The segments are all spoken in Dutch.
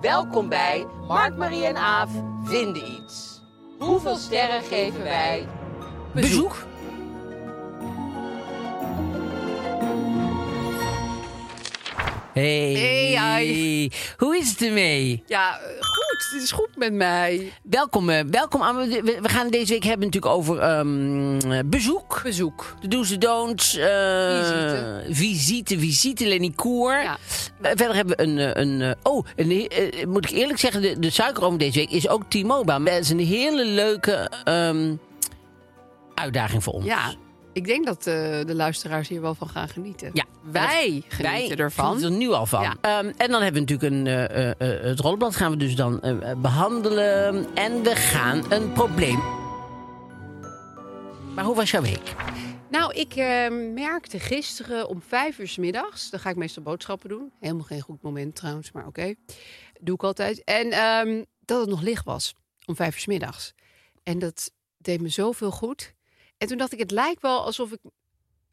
Welkom bij Mark, Marie en Aaf vinden iets. Hoeveel sterren geven wij? Bezoek. Hey. Hey, ai. Hoe is het ermee? Ja, eh, goed. Het is goed met mij. Welkom, eh, welkom aan. We, we gaan deze week hebben natuurlijk over ehm, eh, bezoek. Bezoek. De do's, de don'ts. eh, Visite. Visite, visite, Lenny Koer. Ja. Eh, Verder hebben we een... eh, een eh, oh, een, he- eh, moet ik eerlijk zeggen, de, de suikeroom deze week is ook T-Mobile. Maar Dat is een hele leuke ehm, uitdaging voor ons. Ja, ik denk dat eh, de luisteraars hier wel van gaan genieten. Ja. Wij genieten Wij ervan. genieten er nu al van. Ja. Ehm, en dan hebben we natuurlijk een, eh, eh, eh, het rollenblad gaan we dus dan eh, eh, behandelen. En we gaan een probleem. Maar hoe was jouw week? Nou, ik eh, merkte gisteren om vijf uur 's middags. Dan ga ik meestal boodschappen doen. Helemaal geen goed moment trouwens, maar oké. Doe ik altijd. En ehm, dat het nog licht was om vijf uur 's middags. En dat deed me zoveel goed. En toen dacht ik, het lijkt wel alsof ik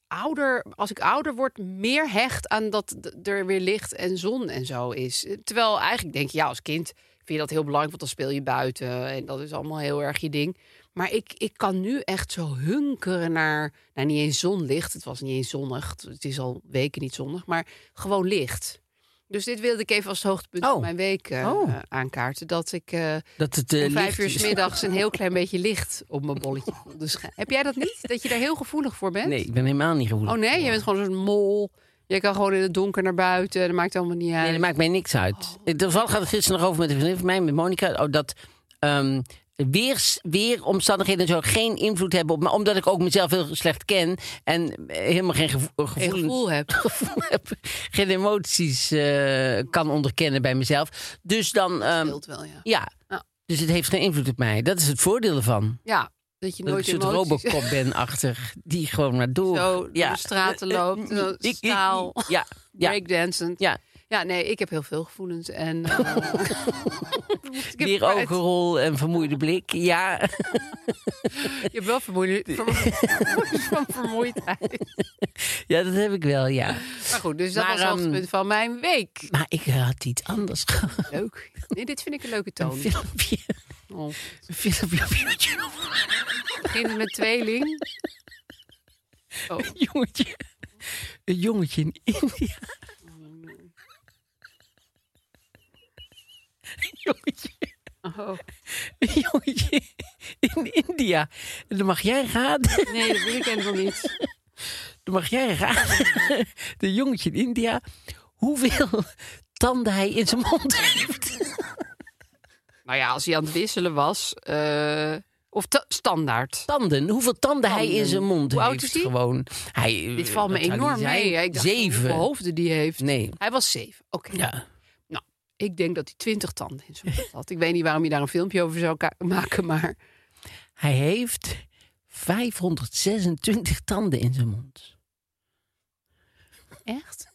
ouder, als ik ouder word, meer hecht aan dat d- er weer licht en zon en zo is. Eh, Terwijl eigenlijk denk je, ja, als kind vind je dat heel belangrijk, want dan speel je buiten en dat is allemaal heel erg je ding. Maar ik, ik kan nu echt zo hunkeren naar, nou niet eens zonlicht, het was niet eens zonnig, het- het is al weken niet zonnig, maar gewoon licht. Dus dit wilde ik even als hoogtepunt Oh. van mijn week eh, Oh. eh, aankaarten. Dat ik eh, Dat het eh, om vijf licht uur is. 's middags een heel klein beetje licht op mijn bolletje voelde. schijnen. heb jij dat niet? Dat je daar heel gevoelig voor bent? Nee, ik ben helemaal niet gevoelig. Oh nee, je bent gewoon zo'n mol. Je kan gewoon in het donker naar buiten. Dat maakt allemaal niet uit. Nee, dat maakt mij niks uit. Eh, Toevallig gaat het gisteren nog over met een vriendin van mij, met Monica. Oh, dat ehm, weers, weeromstandigheden zo geen invloed hebben op me. Omdat ik ook mezelf heel slecht ken. En eh, helemaal geen gevo Geen gevoelens- gevoel heb. gevoel heb, geen emoties eh, kan onderkennen bij mezelf. Dus dan, ehm, Speelt wel, ja. ja. Ja. Dus het heeft geen invloed op mij. Dat is het voordeel ervan. Ja, dat je Dat nooit ik een soort emoties- robocop ben achter, die gewoon maar door. Zo door de straten loopt, Eh, eh, zo ik- ik- staal. Ja, ja, breakdancend. ja. Ja, nee, ik heb heel veel gevoelens. En, eh, moest ik even Weer kwijt. ogenrol en vermoeide blik. Ja, Je hebt wel vermoeid, van vermoeidheid. ja dat heb ik wel, ja. Maar goed, dus dat Maar, was het ehm, hoogtepunt van mijn week. Maar ik had iets anders. Leuk. Nee, dit vind ik een leuke Een toon. filmpje, Oh. een filmpje op YouTube. Begint het met tweeling. Een jongetje. Een jongetje in India. Een jongetje. Oh. Een jongetje in India. En dan mag jij raden. Nee, dat wil ik helemaal niet. Dan mag jij raden. De jongetje in India. Hoeveel tanden hij in zijn mond heeft. Nou ja, als hij aan het wisselen was. eh, of ta- standaard. Tanden. Hoeveel tanden, hij in Tanden. zijn mond Hoe heeft. oud is hij? Gewoon. Hij, Dit valt me wat zou die enorm zijn? mee. hè. Ik dacht, Zeven. Hoeveel hoofden die heeft. Nee. Hij was zeven. Oké. Ja. Ik denk dat hij twintig tanden in zijn mond had. Ik weet niet waarom je daar een filmpje over zou ka- maken, maar... Hij heeft 526 tanden in zijn mond. Echt?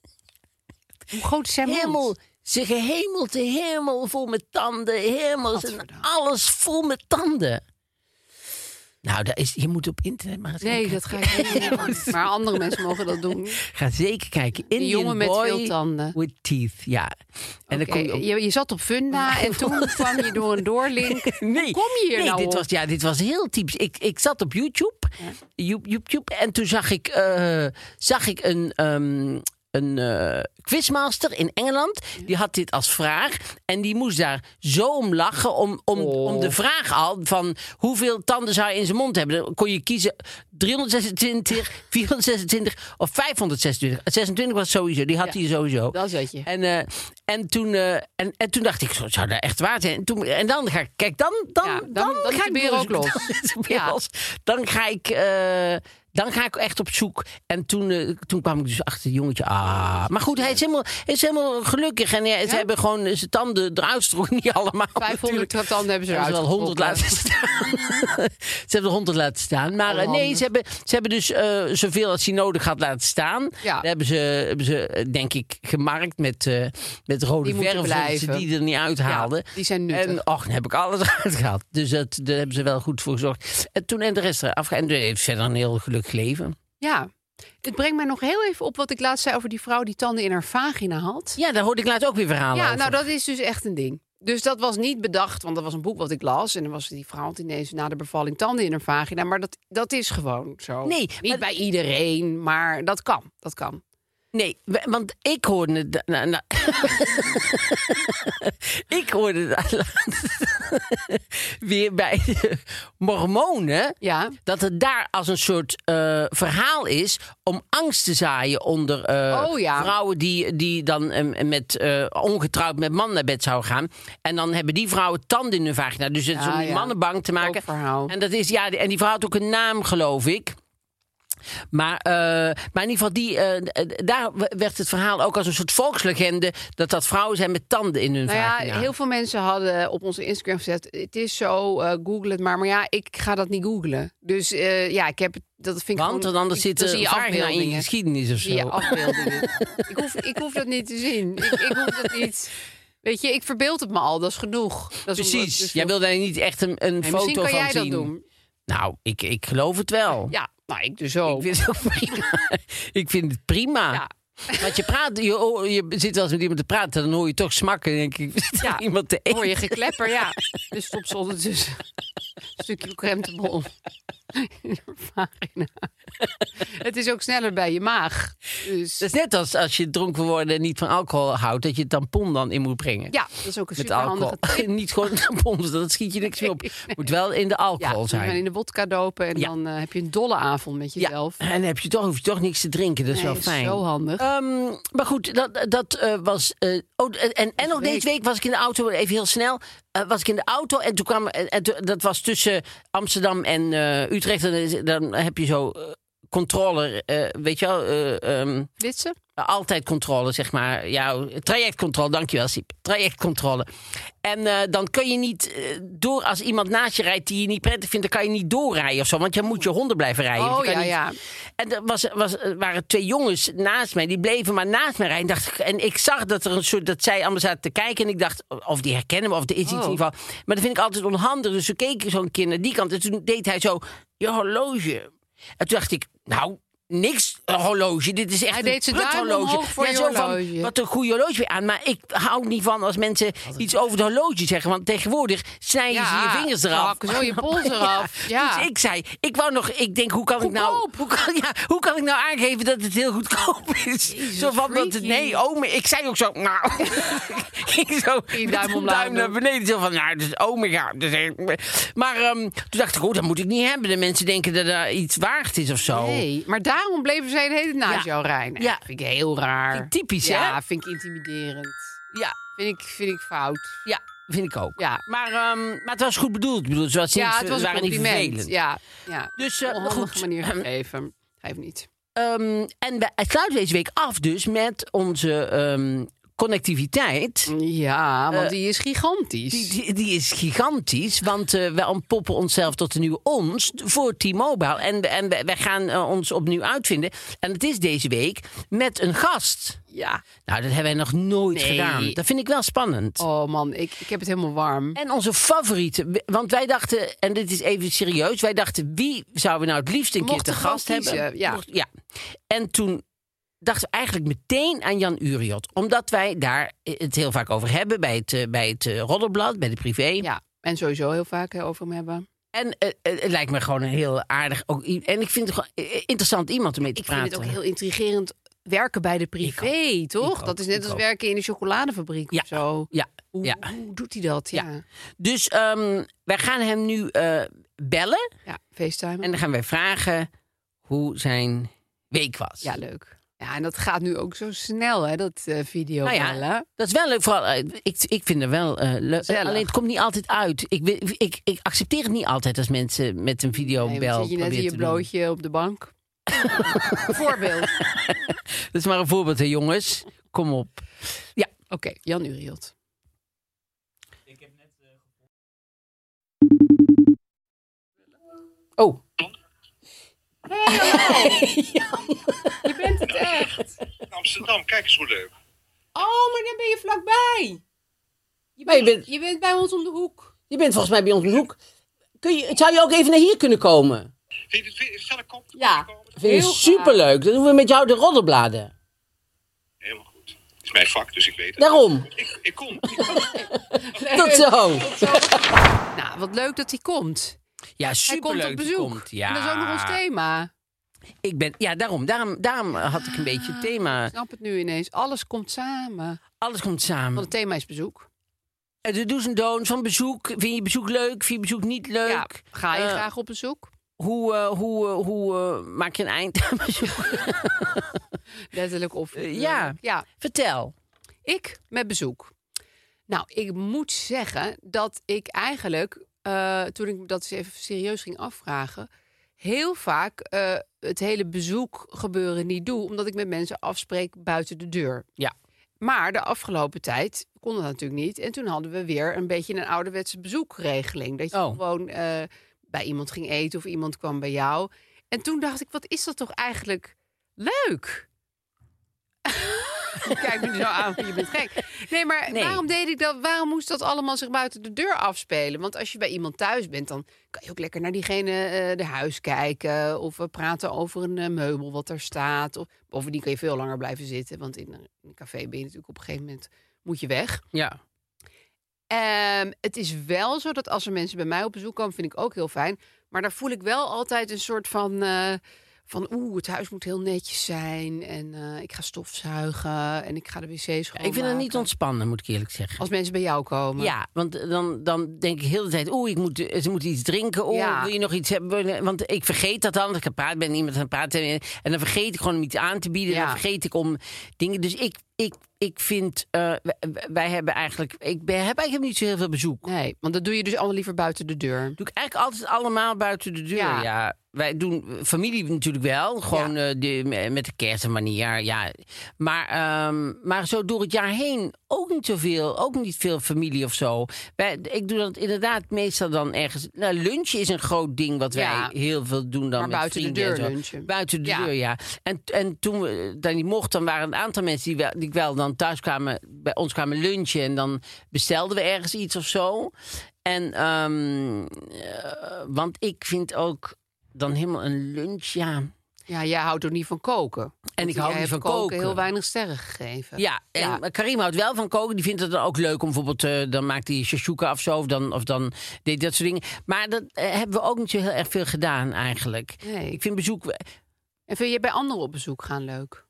Hoe groot is zijn mond? Helemaal, zijn gehemelte hemel vol met tanden. Helemaal, zijn Gadverdamme. alles vol met tanden. Nou, daar is, je moet op internet maar eens Nee, kijken. dat ga ik niet doen. Maar andere mensen mogen dat doen. Ga zeker kijken. Indian jongen met boy veel tanden. With teeth, ja. En dan Oké, kom je op... je, je zat op Funda en toen kwam je door een doorlink. Nee, kom je hier nee, nou dit op? was, ja, dit was heel typisch. Ik, ik zat op YouTube, Joep- YouTube en toen zag ik, eh, zag ik een, ehm, een eh, quizmaster in Engeland. Die had dit als vraag en die moest daar zo om lachen. Om, om, Oh. om de vraag al van hoeveel tanden zou je in zijn mond hebben. Dan kon je kiezen 326, 426 of 526. 26 was sowieso, die had hij sowieso. dat weet je. En, eh, en, toen, eh, en, en toen dacht ik, zo zou dat echt waar zijn. En, toen, en dan ga ik, kijk, dan, dan, Ja, dan, dan- dan is ga de ik beer ook boer- los. Dan is de beer Ja. los. Dan ga ik, eh, dan ga ik echt op zoek. En toen, eh, toen kwam ik dus achter het jongetje. Ah. Maar goed, hij is helemaal, hij is helemaal gelukkig. En ja, ze hebben gewoon zijn tanden eruit stroken. Niet allemaal. 500 natuurlijk. tanden hebben ze Ze eruit. hebben wel 100 getrokken. laten staan. ze hebben er 100 laten staan. Maar eh, nee, Onhandig. ze hebben, ze hebben dus eh, zoveel als hij nodig had laten staan. Ja. Daar hebben ze, hebben ze, eh, denk ik, gemarkt met, eh, met rode Die moeten verf. zodat ze blijven. die er niet uithaalden. Ja, die zijn nuttig. En och, dan heb ik alles eruit gehaald. Dus dat, daar hebben ze wel goed voor gezorgd. En toen en de rest eraf. En toen heeft verder een heel gelukkig leven. Ja. Het brengt mij nog heel even op wat ik laatst zei over die vrouw die tanden in haar vagina had. Ja, daar hoorde ik laatst ook weer verhalen Ja, over. nou dat is dus echt een ding. Dus dat was niet bedacht, want dat was een boek wat ik las. En dan was die vrouw had ineens na de bevalling tanden in haar vagina. Maar dat, dat is gewoon zo. Nee, niet maar- bij iedereen, maar dat kan. Dat kan. Nee, we- want ik hoorde... het da- Nou, nou, ik hoorde dat laatst weer bij de mormonen... Ja. dat het daar als een soort eh, verhaal is om angst te zaaien onder eh, Oh, ja. vrouwen die, die dan eh, met, eh, ongetrouwd met man naar bed zouden gaan. En dan hebben die vrouwen tanden in hun vagina. Dus het is Ja, om die Ah, ja. mannen bang te maken. Ook verhaal. En, dat is, ja, en die vrouw had ook een naam, geloof ik. Maar, eh, maar in ieder geval, die, eh, eh, daar w- werd het verhaal ook als een soort volkslegende... dat dat vrouwen zijn met tanden in hun Nou ja, vagina. heel veel mensen hadden op onze Instagram gezet... het is zo, eh, google het maar. Maar ja, ik ga dat niet googlen. Dus eh, ja, ik heb het, dat vind ik Want gewoon- dan anders ik- zit dan zie de je vagina in je afbeeldingen. geschiedenis of zo. Zie je afbeeldingen. ik, hoef, ik hoef dat niet te zien. Ik, ik hoef dat niet... Weet je, ik verbeeld het me al, dat is genoeg. Dat is Precies, omdat- dus- jij wil daar niet echt een, een Nee, foto Misschien kan van jij zien. dat doen. Nou, ik, ik geloof het wel. Ja, nou, ik dus ook. Ik vind het ook prima. ik vind het prima. Ja. Want je praat, je, oh, je zit wel eens met iemand te praten, dan hoor je toch smakken. Dan denk ik, zit Ja, er iemand te Hoor eten? je geklepper, ja. Dus stop ze ondertussen een stukje crème de bol in haar vagina. Het is ook sneller bij je maag. Dus, Dat is net als als je dronken wordt en niet van alcohol houdt, dat je het tampon dan in moet brengen. ja, dat is ook een Met superhandige alcohol. niet gewoon tampons, dat schiet je niks meer op. Moet wel in de Ja, alcohol moet je maar zijn. in de wodka dopen en Ja. dan eh, heb je een dolle avond met Ja, jezelf. en dan heb je toch, hoef je toch niks te drinken, dat is Nee, wel fijn. Zo handig. Ehm, maar goed, dat, dat eh, was. eh, oh, en en nog week. deze week was ik in de auto, even heel snel. eh, was ik in de auto en toen kwam. eh, En, en toen- dat was tussen Amsterdam en eh, Utrecht. En dan is- dan heb je zo. eh, Controller, eh, weet je wel, eh, ehm, Witsen? altijd controle, zeg maar. Ja, trajectcontrole, dankjewel Siep. Trajectcontrole. En eh, dan kun je niet eh, door als iemand naast je rijdt die je niet prettig vindt, dan kan je niet doorrijden of zo, want je moet je honden blijven rijden. Oh, Je kan ja, niet- ja. En er was, was, er waren twee jongens naast mij, die bleven maar naast mij rijden. Dacht ik, en ik zag dat er een soort, dat zij allemaal zaten te kijken en ik dacht, of die herkennen me, of er is iets Oh. in ieder geval. Maar dat vind ik altijd onhandig, dus toen keek ik zo'n keer naar die kant en toen deed hij zo, je horloge. En toen dacht ik, nou, niks eh, horloge, dit is echt Hij een deed zijn duim pruthorloge. omhoog voor ja, je zo van, horloge. wat een goede horloge weer aan. Maar ik hou niet van als mensen iets over de horloge zeggen. Want tegenwoordig snijden Ja, ze je vingers ze eraf. hakken zo je pols eraf. Ja. Dus ik zei, ik wou nog, ik denk, hoe kan ik nou, Goedkoop. hoe kan, ja, hoe kan ik nou aangeven dat het heel goedkoop is? zo van, dat het, freaky. nee, ome, ik zei ook zo, nou, ik ging zo Die met duim een omlaag duim naar doen. beneden. Zo van, nou, dat is omega. Dat is, maar ehm, toen dacht ik, oh, dat moet ik niet hebben. De mensen denken dat er iets waard is of zo. Nee, maar daarom bleven zij de hele tijd naast Ja. jou rijden. Ja. Ja. Vind ik heel raar. Vind ik typisch, ja, hè? vind ik intimiderend. Ja, Vind ik, vind ik fout. ja, vind ik ook. Ja, Maar, ehm, maar het was goed bedoeld. Ik bedoel, ze was ja niet, het was een waren niet compliment. vervelend. Ja, ja. Dus, eh, Op een maar handige goed. manier Ehm, gegeven. Hij heeft niet. Ehm, en we sluiten deze week af dus met onze ehm, connectiviteit. Mm. Ja, want Eh, die is gigantisch. Die, die, die is gigantisch, want eh wij ontpoppen onszelf tot een nieuwe ons voor T-Mobile. En, we- en we- wij gaan eh, ons opnieuw uitvinden. En het is deze week met een gast. Ja. Nou, dat hebben wij nog nooit Nee. gedaan. Dat vind ik wel spannend. Oh man, ik, ik heb het helemaal warm. En onze favoriete, want wij dachten, en dit is even serieus, wij dachten wie zouden we nou het liefst een Mocht keer de te gast gast hebben? kiezen, ja. Mocht- En toen dachten we eigenlijk meteen aan Jan Uriot, omdat wij daar het heel vaak over hebben bij het, eh, bij het eh, Roddelblad, bij de privé. Ja, en sowieso heel vaak hè, over hem hebben. En eh, eh, het lijkt me gewoon een heel aardig, ook, i- en ik vind het gewoon eh, interessant iemand om mee te Ik vind praten. het ook heel intrigerend werken bij de privé, toch? Ik ook, dat is net ik als ook. werken in een chocoladefabriek Ja. of zo. Ja, Hoe, ja. hoe doet hij dat? Ja, ja. Dus ehm, wij gaan hem nu eh, bellen FaceTime. en dan gaan wij vragen hoe zijn week was. Ja, leuk. Ja, en dat gaat nu ook zo snel, hè, dat eh video. Nou ja, Dat is wel leuk. Vooral, eh, ik, ik vind het wel eh, leuk. Gezellig. Alleen het komt niet altijd uit. Ik, we- ik, ik accepteer het niet altijd als mensen met een videobel Nee, bel dan zit je net in proberen je te blootje op de bank. Voorbeeld. Oké, doen. Dat is maar een voorbeeld, hè, jongens. Kom op. Ja, Jan Uriot. oh. Je bent het echt. Amsterdam, kijk eens hoe leuk. Oh, maar dan ben je vlakbij. Je Maar je bent- je bent bij ons om de hoek. Je bent volgens mij bij ons op de hoek. Kun je, zou je ook even naar hier kunnen komen? Vind je, vind je, zal ik komen? Kom Ja. ik komen? Dat vind ik Heel graag. superleuk. Dan doen we met jou de roddelbladen. Helemaal goed. Het is mijn vak, dus ik weet het. Daarom. Ik, ik kom. Ik kom. Tot zo. Nou, wat leuk dat hij komt. Ja, Hij superleuk. komt op dat je bezoek. komt. Ja. En dat is ook nog ons thema. Ik ben, ja, daarom, daarom. Daarom had ik een beetje het thema. Ik snap het nu ineens. Alles komt samen. Alles komt samen. Want het thema is bezoek. Eh, De do's en don'ts van bezoek. Vind je bezoek leuk? Vind je bezoek niet leuk? Ja, ga je Eh, graag op bezoek? Hoe, eh, hoe, eh, hoe eh, maak je een eind aan bezoek? Letterlijk of Eh, ja. ja. Vertel. Ik met bezoek. Nou, ik moet zeggen dat ik eigenlijk, eh, toen ik dat eens even serieus ging afvragen, heel vaak eh, het hele bezoek gebeuren niet doe, omdat ik met mensen afspreek buiten de deur. Ja. Maar de afgelopen tijd kon dat natuurlijk niet. En toen hadden we weer een beetje een ouderwetse bezoekregeling. Dat je Oh. gewoon eh, bij iemand ging eten of iemand kwam bij jou. En toen dacht ik, wat is dat toch eigenlijk leuk? Kijk me nu nou aan, je bent gek. Nee, maar Nee. waarom deed ik dat? Waarom moest dat allemaal zich buiten de deur afspelen? Want als je bij iemand thuis bent, dan kan je ook lekker naar diegene eh de huis kijken. Of we praten over een eh, meubel wat er staat. Of, bovendien kun je veel langer blijven zitten. Want in een- in een café ben je natuurlijk op een gegeven moment moet je weg. Ja. Ehm, het is wel zo dat als er mensen bij mij op bezoek komen, vind ik ook heel fijn. Maar daar voel ik wel altijd een soort van. eh, van oeh, het huis moet heel netjes zijn. En eh, ik ga stofzuigen. En ik ga de wc's schoonmaken. ik vind het niet ontspannen, moet ik eerlijk zeggen. Als mensen bij jou komen. Ja, want eh, dan, dan denk ik heel de tijd... oeh, ik moet, eh, ze moeten iets drinken. Oeh, Ja. wil je nog iets hebben? Want ik vergeet dat dan. Als ik aan het praten ben, iemand aan het praten... eh, en dan vergeet ik gewoon om iets aan te bieden. Ja. Dan vergeet ik om dingen... Dus ik, ik, ik vind... eh, wij, wij hebben eigenlijk... Ik ben, heb eigenlijk niet zo heel veel bezoek. Nee, want dat doe je dus allemaal liever buiten de deur. Doe ik eigenlijk altijd allemaal buiten de deur. Ja. Ja. Wij doen familie natuurlijk wel. Gewoon eh, de, me- met de kerst en wanneer. Ja. Maar, ehm, maar zo door het jaar heen ook niet zoveel. Ook niet veel familie of zo. Wij, ik doe dat inderdaad meestal dan ergens. Nou, lunchen is een groot ding wat wij Ja. heel veel doen dan Maar met buiten de vrienden en deur zo. lunchen. Buiten de Ja. deur, ja. En, en toen we daar niet mochten, dan waren een aantal mensen die, wel, die wel dan thuis kwamen, bij ons kwamen lunchen. En dan bestelden we ergens iets of zo. En, ehm, eh, want ik vind ook dan helemaal een lunch, ja. Ja, jij houdt ook niet van koken. Want ik jij hou niet hebt van koken. heel weinig sterren gegeven. Ja, en Karim houdt wel van koken. Die vindt het dan ook leuk om bijvoorbeeld... eh, dan maakt hij shashuka of zo. Of dan, of dan deed hij dat soort dingen. Maar dat eh, hebben we ook niet zo heel erg veel gedaan eigenlijk. Nee. Ik vind bezoek... En vind je bij anderen op bezoek gaan leuk?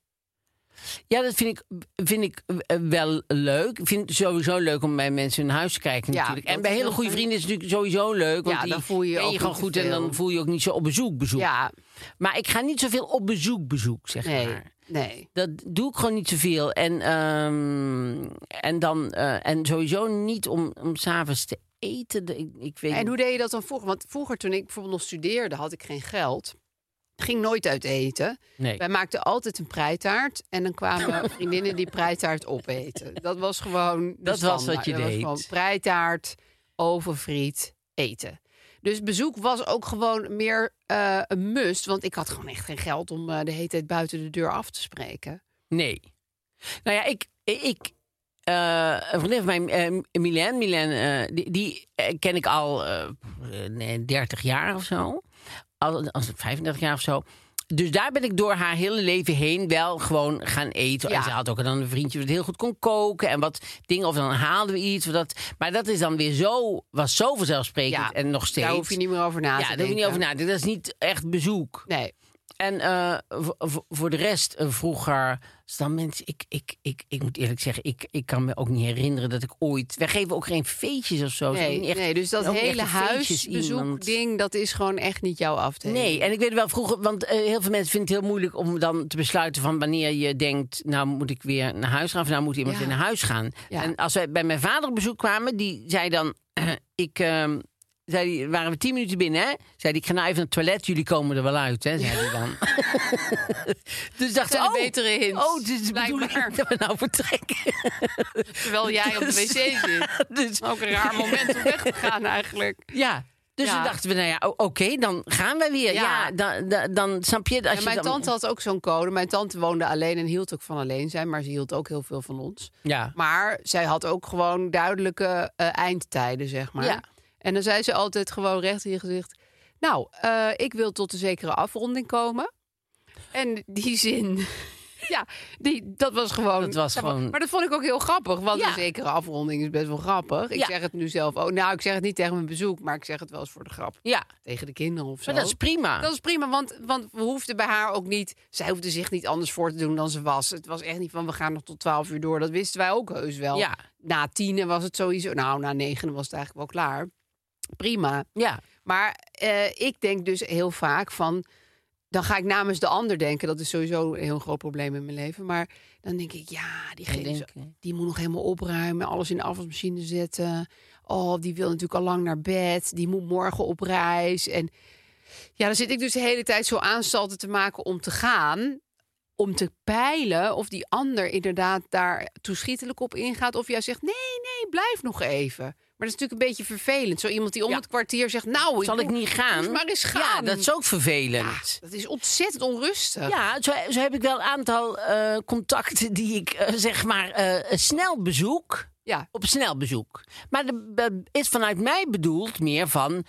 Ja, dat vind ik, vind ik eh, wel leuk. Ik vind het sowieso leuk om bij mensen in huis te kijken Ja, natuurlijk. En dat bij is hele heel goede fijn. vrienden is het natuurlijk sowieso leuk. Want Ja, die dan voel je je ken ook gewoon niet te goed en dan veel. voel je je ook niet zo op bezoek bezoek. Ja, Maar ik ga niet zoveel op bezoek bezoek, zeg nee. maar. Nee. Dat doe ik gewoon niet zoveel. En, ehm, en, dan, eh, en sowieso niet om, om s'avonds te eten. Ik, ik weet En niet. hoe deed je dat dan vroeger? Want vroeger, toen ik bijvoorbeeld nog studeerde, had ik geen geld. ging nooit uit eten. Nee. Wij maakten altijd een preitaart. En dan kwamen vriendinnen die preitaart opeten. Dat was gewoon. de Dat was wat standaard. je Dat was deed. gewoon preitaart, overfriet, eten. Dus bezoek was ook gewoon meer eh, een must. Want ik had gewoon echt geen geld om eh, de hele tijd buiten de deur af te spreken. Nee. Nou ja, ik. ik eh, een vriendin van mij, eh Milan, Milan eh, die, die, eh, ken ik al eh, nee, 30 jaar of zo. Al, als 35 jaar of zo. Dus daar ben ik door haar hele leven heen wel gewoon gaan eten. Ja. En ze had ook dan een vriendje dat heel goed kon koken en wat dingen. Of dan haalden we iets. Of dat, maar dat is dan weer zo, was zo vanzelfsprekend en nog steeds. Daar hoef je niet meer over na ja, te daar denken. hoef je niet over na. te denken. Dat is niet echt bezoek. Nee. En eh, v- v- voor de rest, eh, vroeger, is dan mensen, ik, ik, ik, ik moet eerlijk zeggen, ik, ik kan me ook niet herinneren dat ik ooit. Wij geven ook geen feestjes of zo. Nee, Ook niet echt- nee, dus dat ook niet hele echt een feestjes iemand. huisbezoekding, dat is gewoon echt niet jouw afdeling. Nee, en ik weet wel vroeger, want eh, heel veel mensen vinden het heel moeilijk om dan te besluiten van wanneer je denkt, nou moet ik weer naar huis gaan of nou moet iemand Ja. weer naar huis gaan. Ja. En als wij bij mijn vader op bezoek kwamen, die zei dan, ik, ehm, zei die, waren we tien minuten binnen, hè? Zei die, ik ga nou even naar het toilet, jullie komen er wel uit, hè? Zei die dan. dus dacht zijn ik, de oh, betere hints, Oh, dit is de bedoeling blijkbaar. dat we nou vertrekken. Terwijl jij op de Dus- wc zit. dus, Ook een raar moment om weg te gaan eigenlijk. ja. Dus Ja. toen dachten we, nou ja, o- oké, dan gaan we weer. Ja, Ja. dan, dan, dan snap je... Als En je mijn dan- tante had ook zo'n code. Mijn tante woonde alleen en hield ook van alleen zijn, maar ze hield ook heel veel van ons. Ja. Maar zij had ook gewoon duidelijke eh, eindtijden, zeg maar. Ja. En dan zei ze altijd gewoon recht in je gezicht: Nou, eh, ik wil tot een zekere afronding komen. En die zin. Ja, die, dat was gewoon. Dat was zeg maar- gewoon- Maar dat vond ik ook heel grappig. Want Ja. een zekere afronding is best wel grappig. Ik Ja. zeg het nu zelf ook. Nou, ik zeg het niet tegen mijn bezoek, maar ik zeg het wel eens voor de grap. Ja, Tegen de kinderen of zo. maar dat is prima. Dat is prima, want, want we hoefden bij haar ook niet. Zij hoefde zich niet anders voor te doen dan ze was. Het was echt niet van we gaan nog tot 12 uur door. Dat wisten wij ook heus wel. Ja. Na tienen was het sowieso. Nou, na negen was het eigenlijk wel klaar. Prima. Ja, Maar eh, ik denk dus heel vaak van. Dan ga ik namens de ander denken. Dat is sowieso een heel groot probleem in mijn leven. Maar dan denk ik, ja, die, Ja, geeft, denk ik. die moet nog helemaal opruimen. Alles in de afwasmachine zetten. Oh, die wil natuurlijk al lang naar bed. Die moet morgen op reis. En ja, dan zit ik dus de hele tijd zo aanstalten te maken om te gaan. Om te peilen of die ander inderdaad daar toeschietelijk op ingaat. Of jij zegt, nee, nee, blijf nog even. Maar dat is natuurlijk een beetje vervelend. Zo iemand die om Ja. het kwartier zegt, nou, zal ik moet- niet gaan? moest maar eens Ja, gaan. dat is ook vervelend. Ja, dat is ontzettend onrustig. Ja, zo, zo heb ik wel een aantal eh, contacten die ik eh, zeg maar eh, snel bezoek. Ja. Op snel bezoek. Maar de- de- is vanuit mij bedoeld meer van.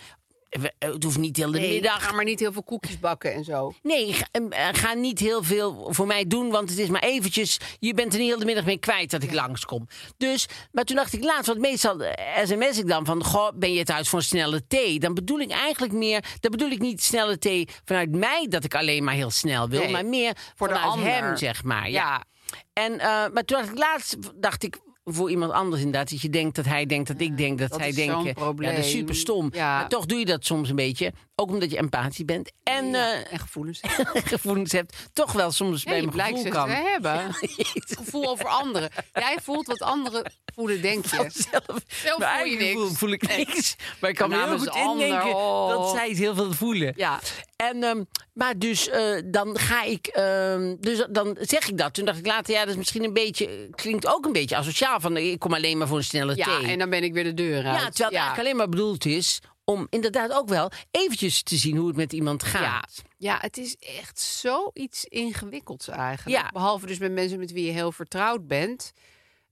we- eh, Het hoeft niet heel de Nee, middag. Ga maar niet heel veel koekjes bakken en zo. Nee, ga, eh, ga niet heel veel voor mij doen, want het is maar eventjes. Je bent er niet heel de middag mee kwijt dat ik langskom. Dus, maar toen dacht ik laatst, want meestal eh, sms ik dan van, goh, ben je thuis voor een snelle thee? Dan bedoel ik eigenlijk meer, dan bedoel ik niet snelle thee vanuit mij dat ik alleen maar heel snel wil, Nee, maar meer voor de vanuit ander. hem, zeg maar. Ja. Ja. En, eh, maar toen dacht ik laatst, dacht ik voor iemand anders inderdaad, dat je denkt dat hij denkt dat ik denk dat, dat hij is denkt. zo'n eh, Ja, dat probleem. is super stom. Ja. Maar toch doe je dat soms een beetje, ook omdat je empathisch bent. En, eh, En gevoelens. gevoelens hebt, toch wel soms Ja, bij je mijn blijkt gevoel ze kan. te hebben. Gevoel over anderen. Jij voelt wat anderen voelen, denk je. Zelf, mijn Zelf voel je eigen niks. gevoel voel ik niks. Maar ik kan Maar me heel namens goed de ander, indenken oh. dat zij het heel veel voelen. Ja. En, ehm, maar dus eh, dan ga ik, ehm, dus dan zeg ik dat. Toen dacht ik later, ja, dat is misschien een beetje, klinkt ook een beetje asociaal. Van ik kom alleen maar voor een snelle Ja, thee. en dan ben ik weer de deur ja, uit. terwijl het eigenlijk alleen maar bedoeld is om inderdaad ook wel eventjes te zien hoe het met iemand Ja. gaat. ja, het is echt zoiets ingewikkelds eigenlijk. Ja. Behalve dus met mensen met wie je heel vertrouwd bent.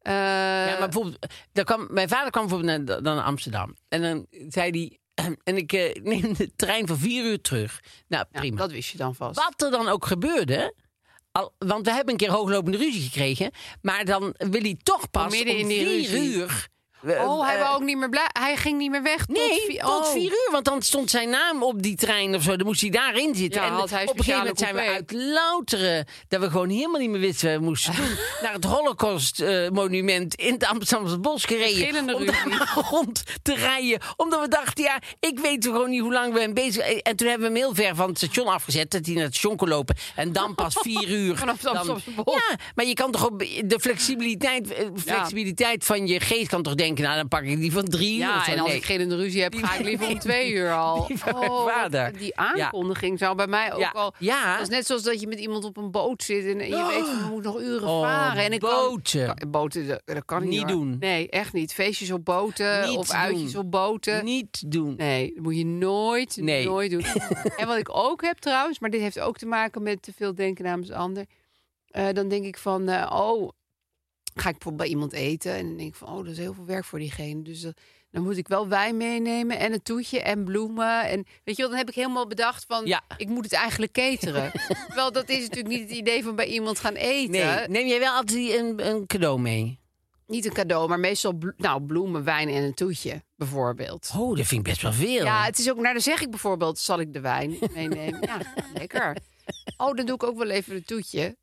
Eh, Ja, maar bijvoorbeeld, daar kwam, mijn vader kwam bijvoorbeeld naar, dan naar Amsterdam. En dan zei hij, en ik eh, neem de trein van vier uur terug. Nou, ja, prima. dat wist je dan vast. Wat er dan ook gebeurde, al, want we hebben een keer hooglopende ruzie gekregen. Maar dan wil hij toch pas midden om in die vier ruzie. uur. Oh, hij eh, wou ook niet meer blij. Hij ging niet meer weg. Nee, tot vier, tot oh. vier uur. Want dan stond zijn naam op die trein of zo. Dan moest hij daarin zitten. Ja, en had hij op een gegeven moment zijn speciale we uit coupé. Louteren... dat we gewoon helemaal niet meer wisten wat we moesten doen... naar het Holocaust-monument in het Amsterdamse Bos gereden. Gillende Om daar ruzie. maar rond te rijden. Omdat we dachten, ja, ik weet gewoon niet hoe lang we hem bezig... En toen hebben we hem heel ver van het station afgezet... dat hij naar het station kon lopen. En dan pas vier uur. Vanaf het dan- Amsterdamse Bos. Ja, maar je kan toch ook... De flexibiliteit, eh, flexibiliteit van je geest kan toch denken... denken, nou dan pak ik die van drie uur. of Ja, zo. en als Nee. ik gillende ruzie heb, ga ik liever om twee uur al. Die van mijn wat- vader. Die aankondiging zou bij mij ook Ja. al... Ja. Dat is net zoals dat je met iemand op een boot zit en en je weet, we moeten nog uren Oh, varen. En ik boten. Kan, kan- boten, dat, dat kan ik Niet hoor. doen. Nee, echt niet. Feestjes op boten Niet of uitjes doen. op boten. Niet doen. eh, Nee, dat moet je nooit, Nee. nooit doen. en wat ik ook heb trouwens, maar dit heeft ook te maken met te veel denken namens de ander. Eh, dan denk ik van, eh, oh, ga ik bijvoorbeeld bij iemand eten? En dan denk ik van, oh, dat is heel veel werk voor diegene. Dus dat- dan moet ik wel wijn meenemen en een toetje en bloemen. En weet je wel, dan heb ik helemaal bedacht van, Ja. ik moet het eigenlijk cateren. Terwijl dat is natuurlijk niet het idee van bij iemand gaan eten. Nee, neem jij wel altijd een, een cadeau mee? Niet een cadeau, maar meestal blo- nou, bloemen, wijn en een toetje, bijvoorbeeld. Oh, dat vind ik best wel veel. Ja, het is ook, nou dan zeg ik bijvoorbeeld, zal ik de wijn meenemen? Ja, lekker. Oh, dan doe ik ook wel even een toetje.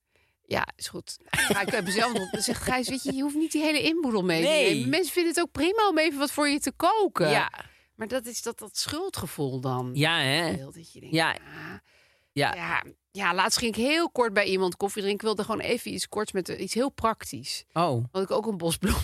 Ja, is goed. Ga ik heb zelf nog, dan zegt Gijs, weet je, je hoeft niet die hele inboedel mee te Nee. nemen. Mensen vinden het ook prima om even wat voor je te koken. ja. Maar dat is dat, dat schuldgevoel dan. ja hè? Dat je denkt, Ja. ah, Ja. ja, ja, laatst ging ik heel kort bij iemand koffie drinken. Ik wilde gewoon even iets korts met iets heel praktisch. Oh. Had ik ook een bosbloem.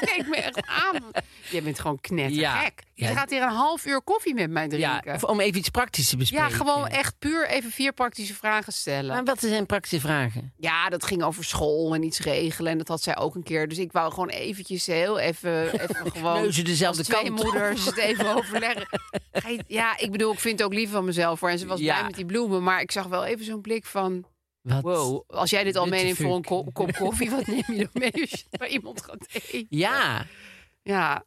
Kijk me echt aan. Jij bent gewoon knettergek. Ja. Je gaat hier een half uur koffie met mij Ja, drinken. of om even iets praktisch te bespreken. Ja, gewoon echt puur even vier praktische vragen stellen. Maar wat zijn praktische vragen? Ja, dat ging over school en iets regelen. En dat had zij ook een keer. Dus ik wou gewoon eventjes heel even, even gewoon... Neuzen dezelfde als twee kant op. moeders het even overleggen. Ga je- Ja, ik bedoel, ik vind het ook lief van mezelf hoor. En ze was Ja. blij met die bloemen. Maar ik zag wel even zo'n blik van... Wat? Wow, als jij dit al Witte meeneemt voor een fuck. ko- kop koffie... wat neem je dan mee als je bij iemand gaat eten? Ja. Ja,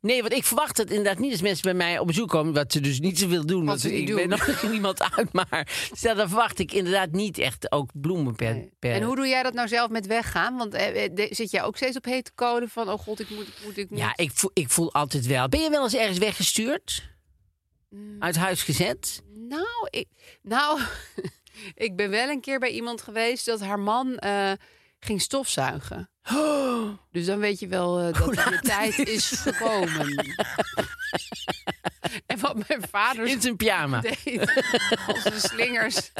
Nee, want ik verwacht het inderdaad niet als mensen bij mij op bezoek komen, wat ze dus niet zoveel doen. want ze niet ik doen. ben nog niemand uit, maar stel, dan verwacht ik inderdaad niet echt ook bloemen per. per eh, En hoe doe jij dat nou zelf met weggaan? Want eh, eh, de- zit jij ook steeds op hete kolen van... oh god, ik moet, ik moet, ik moet. Ja, ik voel, ik voel altijd wel. Ben je wel eens ergens weggestuurd? Mm. Uit huis gezet? Nou, ik, nou ik ben wel een keer bij iemand geweest... dat haar man eh, ging stofzuigen. Dus dan weet je wel eh, dat de tijd is gekomen. en wat mijn vader In zijn pyjama. deed als de slingers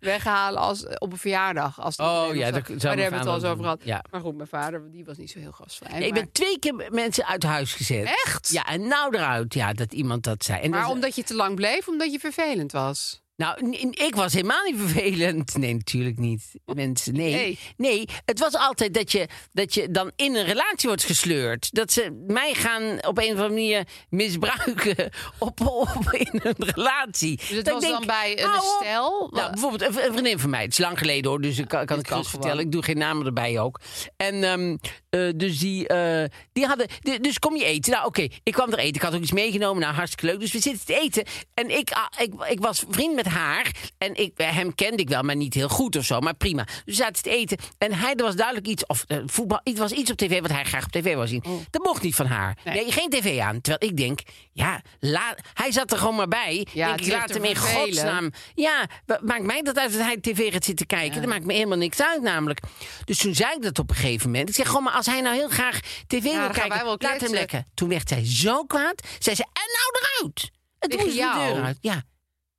weghalen als, op een verjaardag. Als het Oh, alleen nog ja, zo- dat zou mijn maar daar hebben we het al eens vader over gehad. doen. Ja. Maar goed, mijn vader die was niet zo heel gastvrij. Nee, ik maar- ben twee keer mensen uit huis gezet. Echt? Ja, en nou eruit, ja, dat iemand dat zei. En Maar dat- omdat je te lang bleef, omdat je vervelend was. Nou, n- n- ik was helemaal niet vervelend. Nee, natuurlijk niet. Mensen, nee. Nee. nee. het was altijd dat je, dat je dan in een relatie wordt gesleurd. Dat ze mij gaan op een of andere manier misbruiken op, op in een relatie. Dus het Dat ik was denk, dan bij een hou op. stel? Nou, bijvoorbeeld een, een vriendin van mij. Het is lang geleden hoor, dus ik kan, kan dit het kan gerust gewoon. vertellen. Ik doe geen namen erbij ook. En ehm, eh, dus die, eh, die hadden... di- dus kom je eten? Nou oké, ik kwam er eten. Ik had ook iets meegenomen. Nou, hartstikke leuk. Dus we zitten te eten. En ik, ah, ik, ik was vriend met haar. En ik, eh, hem kende ik wel, maar niet heel goed of zo. Maar prima. Dus we zaten te eten. En hij, er was duidelijk iets... Of eh, voetbal, het was iets op tv wat hij graag op tv wil zien. Oh. Dat mocht niet van haar. Nee, geen tv aan. Terwijl ik denk, ja, la, hij zat er gewoon maar bij. Ja, het ik is laat te hem in vervelen. godsnaam ja, wa- maakt mij dat uit dat hij tv gaat zitten kijken. Dat maakt me helemaal niks uit namelijk. Dus toen zei ik dat op een gegeven moment. Ik zeg gewoon, maar als hij nou heel graag tv wil gaan wij kijken, wel laat kletsen. hem lekker. Toen werd zij zo kwaad. Zij zei, en nou eruit. En toen Tegen moest ik de jou? deur uit. Ja,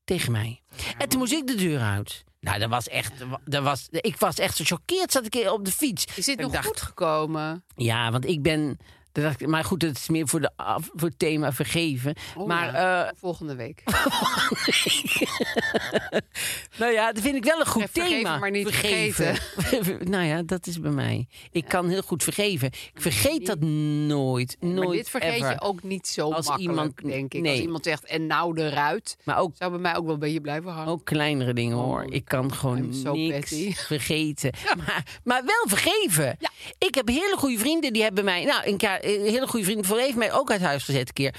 tegen mij. En toen moest ik de deur uit. Nou, dat was echt, dat was, ik was echt zo choqueerd. Zat ik op de fiets. Is dit Ik nog dacht, goed gekomen? ja, want ik ben. dat dacht ik, Maar goed, dat is meer voor, de, af- voor het thema vergeven. Oh, maar ja. eh, volgende week. Nou ja, dat vind ik wel een goed Ja, vergeven, thema. maar niet nou ja, dat is bij mij. Ik kan heel goed vergeven. Ik vergeet dat nooit, nooit maar dit vergeet ever. je ook niet zo Als makkelijk, iemand- denk ik. Als nee. iemand zegt, en nou eruit, Maar ook, zou bij mij ook wel een beetje blijven hangen. ook kleinere dingen hoor. Ik kan gewoon Oh, I'm so niks petty. vergeten. Maar, maar wel vergeven. Ik heb hele goede vrienden die hebben mij... Nou, een, keer- een hele goede vriend voor heeft mij ook uit huis gezet een keer.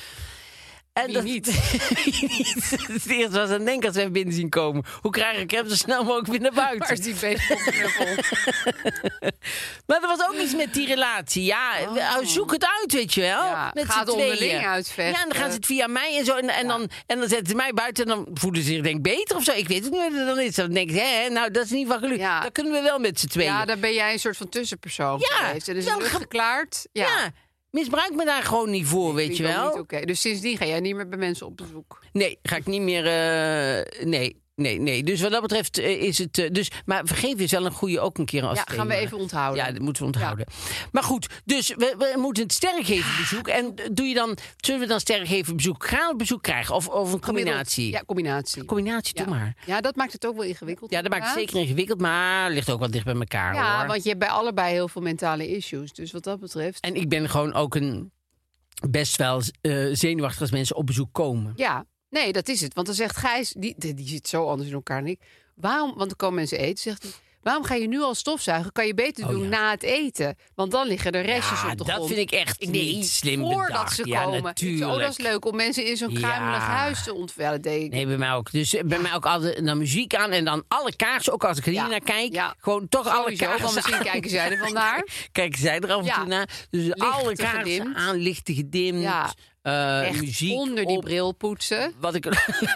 En dat, niet? niet? Het eerste was aan denken als we hem binnen zien komen. Hoe krijg ik hem zo snel mogelijk weer naar buiten? Waar is die baseballknuppel? Maar er was ook iets met die relatie. Ja, we- zoek het uit, weet je wel. Oh. Ja, met ga z'n het onderling tweeën. uitvechten. Ja, en dan gaan ze het via mij en zo. En, en, dan, en dan zetten ze mij buiten en dan voelen ze zich denk ik beter of zo. Ik weet het niet wat er dan is. Dan denk ik, hè, nou, dat is niet van gelukt. Ja. Dat kunnen we wel met z'n tweeën. ja, daar ben jij een soort van tussenpersoon Ja, geweest. En is dan het ga- geklaard. Ja, Ja, misbruik me daar gewoon niet voor, weet vind je ik ook wel. niet oké. Dus sindsdien ga jij niet meer bij mensen op bezoek. Nee, ga ik niet meer... eh, nee. nee, nee. Dus wat dat betreft eh, is het... eh, dus, maar vergeven is wel een goede ook een keer als Ja, thema. gaan we even onthouden. Ja, dat moeten we onthouden. Maar goed, dus we, we moeten het sterrengevenbezoek. En doe je dan, zullen we dan sterrengevenbezoek graag bezoek krijgen? Of, of een Gemiddeld- combinatie? Ja, combinatie. Combinatie, doe ja. maar. Ja, dat maakt het ook wel ingewikkeld. Ja, dat maakt het inderdaad. zeker ingewikkeld, maar ligt ook wel dicht bij elkaar Ja, hoor. want je hebt bij allebei heel veel mentale issues. Dus wat dat betreft. En ik ben gewoon ook een best wel eh, zenuwachtig als mensen op bezoek komen. Ja, nee, dat is het. Want dan zegt Gijs, die, die, die zit zo anders in elkaar dan ik. Waarom, want dan komen mensen eten, zegt hij. Waarom ga je nu al stofzuigen? Kan je beter Oh, doen ja. na het eten? Want dan liggen er restjes Ja, op de dat grond. vind ik echt niet slim Voordat bedacht. ze Ja, komen. Ik zeg, Oh, dat is natuurlijk. leuk om mensen in zo'n Ja. kruimelig huis te ontvallen. Nee, bij mij ook. Dus eh, bij mij ook altijd naar muziek aan en dan alle kaarsen, ook als ik er hier Ja, naar kijk, ja. gewoon toch alle Sowieso, want kaarsen. misschien aan. kijken zij er vandaar. Kijken zij er af en Ja. toe naar. Dus alle kaarsen gedimd. aan, lichten gedimd, Ja. eh, Echt muziek onder die op. bril poetsen. Wat ik,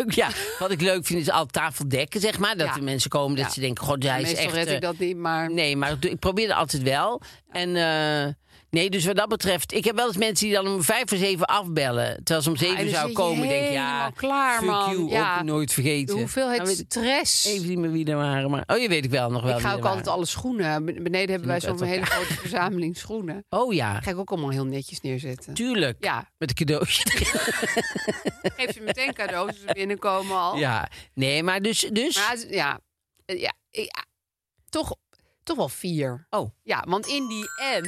ja, wat ik leuk vind is al tafeldekken, zeg maar. Dat Ja. de mensen komen, dat Ja. ze denken, god, hij is Meestal echt... red eh, ik dat niet, maar... Nee, maar ik probeerde altijd wel. En eh, nee, dus wat dat betreft... Ik heb wel eens mensen die dan om vijf voor zeven afbellen. Terwijl ze om zeven dan zou zit Ah, dus je komen. denk ik, ja, helemaal klaar, fuck man. you, Ja. ook nooit De vergeten. hoeveelheid Nou, weet ik stress. Even niet meer wie er waren, maar... Oh, je weet ik wel nog wel ik ga wie ook er altijd waren. alle schoenen. Ben- Beneden hebben wij moet uit zo'n hele elkaar. grote verzameling schoenen. Oh ja, Ga ik ook allemaal heel netjes neerzetten. tuurlijk. Ja, Met een cadeautje. geef ze meteen cadeaus als ze binnenkomen al. ja, nee, maar dus... dus Maar het- ja, eh, ja, eh, ja. Toch, toch wel vier. Oh. Ja, want in die end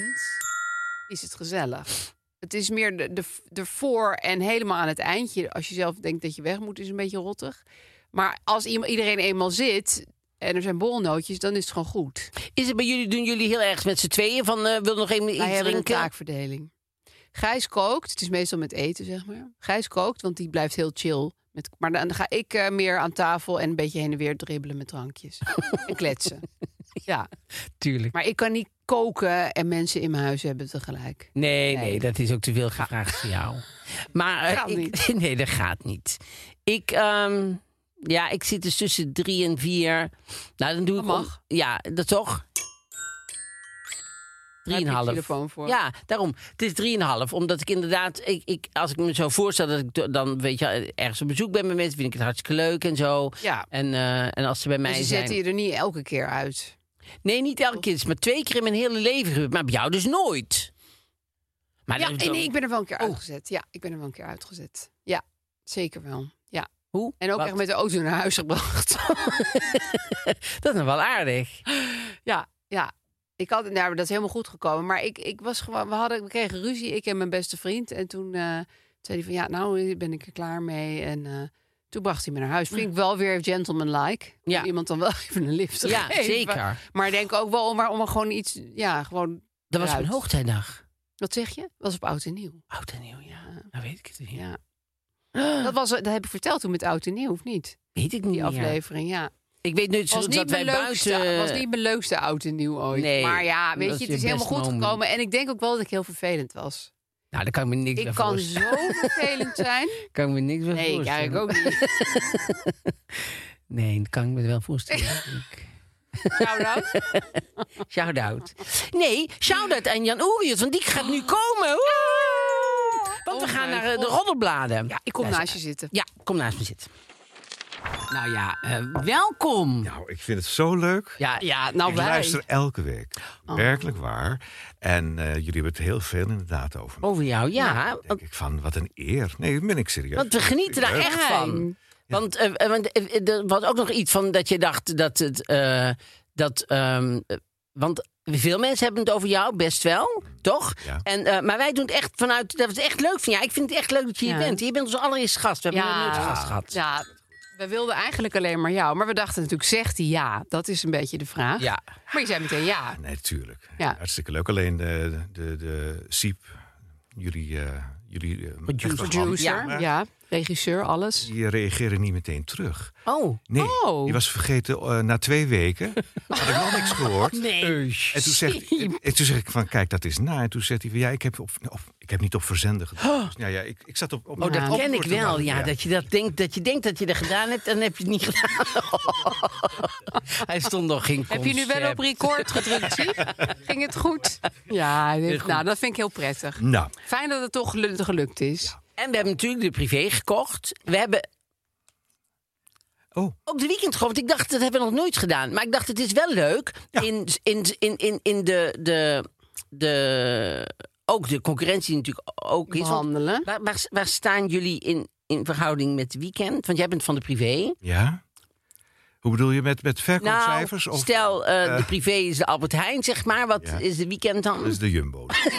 is het gezellig. Het is meer de, de, de voor en helemaal aan het eindje. Als je zelf denkt dat je weg moet, is een beetje rottig. Maar als iemand- iedereen eenmaal zit en er zijn borrelnootjes, dan is het gewoon goed. Is het bij jullie, doen jullie heel erg met z'n tweeën van... eh, wil nog even iets Wij hebben drinken? een taakverdeling. Gijs kookt. Het is meestal met eten, zeg maar. Gijs kookt, want die blijft heel chill. Met, maar dan ga ik eh, meer aan tafel en een beetje heen en weer dribbelen met drankjes. en kletsen. Ja, Tuurlijk. maar ik kan niet koken en mensen in mijn huis hebben tegelijk. Nee, nee, Nee. dat is ook te veel gevraagd voor jou. Maar eh, Gaat ik, niet. nee, dat gaat niet. Ik, ehm, ja, ik zit dus tussen drie en vier. Nou, dan doe Dat ik om- mag. ja, dat toch? Daar heb je Drieënhalf. telefoon voor. Ja, daarom. Het is drieënhalf. Omdat ik inderdaad, ik, ik, als ik me zo voorstel dat ik do- dan weet je, ergens op bezoek ben bij mensen, vind ik het hartstikke leuk en zo. Ja. En, eh, en als ze bij mij En Dus ze zijn. zetten je er niet elke keer uit. Nee, niet elke keer. Het is maar twee keer in mijn hele leven gebeurd. Maar bij jou dus nooit. Maar Ja, dat- en ik ben er wel een keer Oh. uitgezet. Ja, ik ben er wel een keer uitgezet. Ja, zeker wel. Ja. Hoe? En ook Wat? echt met de auto naar huis gebracht. Dat is nog wel aardig. Ja, ja. Ik had, nou, dat is helemaal goed gekomen. Maar ik, ik was gewoon, we, hadden, we kregen ruzie, ik en mijn beste vriend. En toen eh, zei hij van, ja, nou ben ik er klaar mee. En eh, toen bracht hij me naar huis. Vind ik wel weer gentleman-like. Om Ja. Iemand dan wel even een lift te Ja, geven. zeker. Maar ik denk ook wel om, er- om er gewoon iets, ja, gewoon... Dat was eruit. mijn hoogtijdag. Wat zeg je? was op Oud en Nieuw. Oud en nieuw, ja. Nou weet ik het niet. Ja. Dat, was, dat heb ik verteld toen met Oud en Nieuw, of niet? Weet ik niet Die meer. aflevering, ja. Ik weet nu was dat niet, wij mijn leukste, buiten... was niet mijn leukste oud en nieuw ooit. Nee, maar ja, weet dat je, is het is je helemaal best goed moment. gekomen. En ik denk ook wel dat ik heel vervelend was. Nou, daar kan ik me niks Ik bij kan voorstellen. zo vervelend zijn. Kan ik me niks bij Nee, ik voorstellen. eigenlijk ook niet. Nee, dat kan ik me wel voorstellen. denk ik. Shout-out. shout-out. Nee, shout-out aan Jan Oerius, want die gaat nu komen. Woe! Want we Oh gaan mijn naar eh, de God. roddelbladen. Ja, ik kom naast je zitten. Ja, kom naast me zitten. Nou ja, eh, welkom. Nou, ik vind het zo leuk. Ja, Ja, nou ik wij. luister elke week. Oh. Werkelijk waar. En eh, jullie hebben het heel veel inderdaad over me. over jou, ja. Nou, denk ik van, wat een eer. Nee, dat ben ik serieus. Want we genieten daar Leuk. echt van. Want, eh, eh, want eh, eh, er was ook nog iets van dat je dacht dat het. eh, dat, ehm, eh, want veel mensen hebben het over jou, best wel, toch? Ja. En, eh, maar wij doen het echt vanuit. Dat is echt leuk van jou. Ik vind het echt leuk dat je hier Ja. bent. Je bent onze allereerste gast. We hebben nog nooit een gast gehad. Ja, we wilden eigenlijk alleen maar jou. Maar we dachten natuurlijk, zegt hij ja? Dat is een beetje de vraag. Ja. Maar je zei meteen ja. Nee, natuurlijk. Ja. Hartstikke leuk. Alleen de, de, de Siep, jullie... eh, jullie eh, rechterhand, Producer, ja. maar Regisseur, alles. Die reageren niet meteen terug. Oh. Nee, Oh. die was vergeten eh, na twee weken. Had ik nog niks gehoord. Nee. En toen, zegt, en toen zeg ik van, kijk, dat is na. En toen zegt hij van, ja, ik heb, op, op- ik heb niet op verzenden gedaan. Dus, nou ja, ik, ik zat op... op Oh, dat Ja. ken ik antwoord te wel. wachten, Ja, dat je dat denkt dat je denkt dat je dat gedaan hebt en heb je het niet gedaan. Hij stond nog geen Heb je nu wel op record gedrukt, Siep? Ging het goed? Ja, dit- nou, dat vind ik heel prettig. Nou, Fijn dat het toch gelu- gelukt is. En we hebben natuurlijk de privé gekocht. We hebben Oh, Op de weekend gewoon, want ik dacht, dat hebben we nog nooit gedaan. Maar ik dacht, het is wel leuk Ja. in, in, in, in, in de, de, de... Ook de concurrentie natuurlijk ook is. want Behandelen. Waar, waar, waar staan jullie in, in verhouding met weekend? Want jij bent van de privé. Nou, ja. Hoe bedoel je met, met verkoopcijfers? of stel, eh, eh, de privé is de Albert Heijn, zeg maar. Wat Ja. is de weekend dan? Dat is de Jumbo. Nou,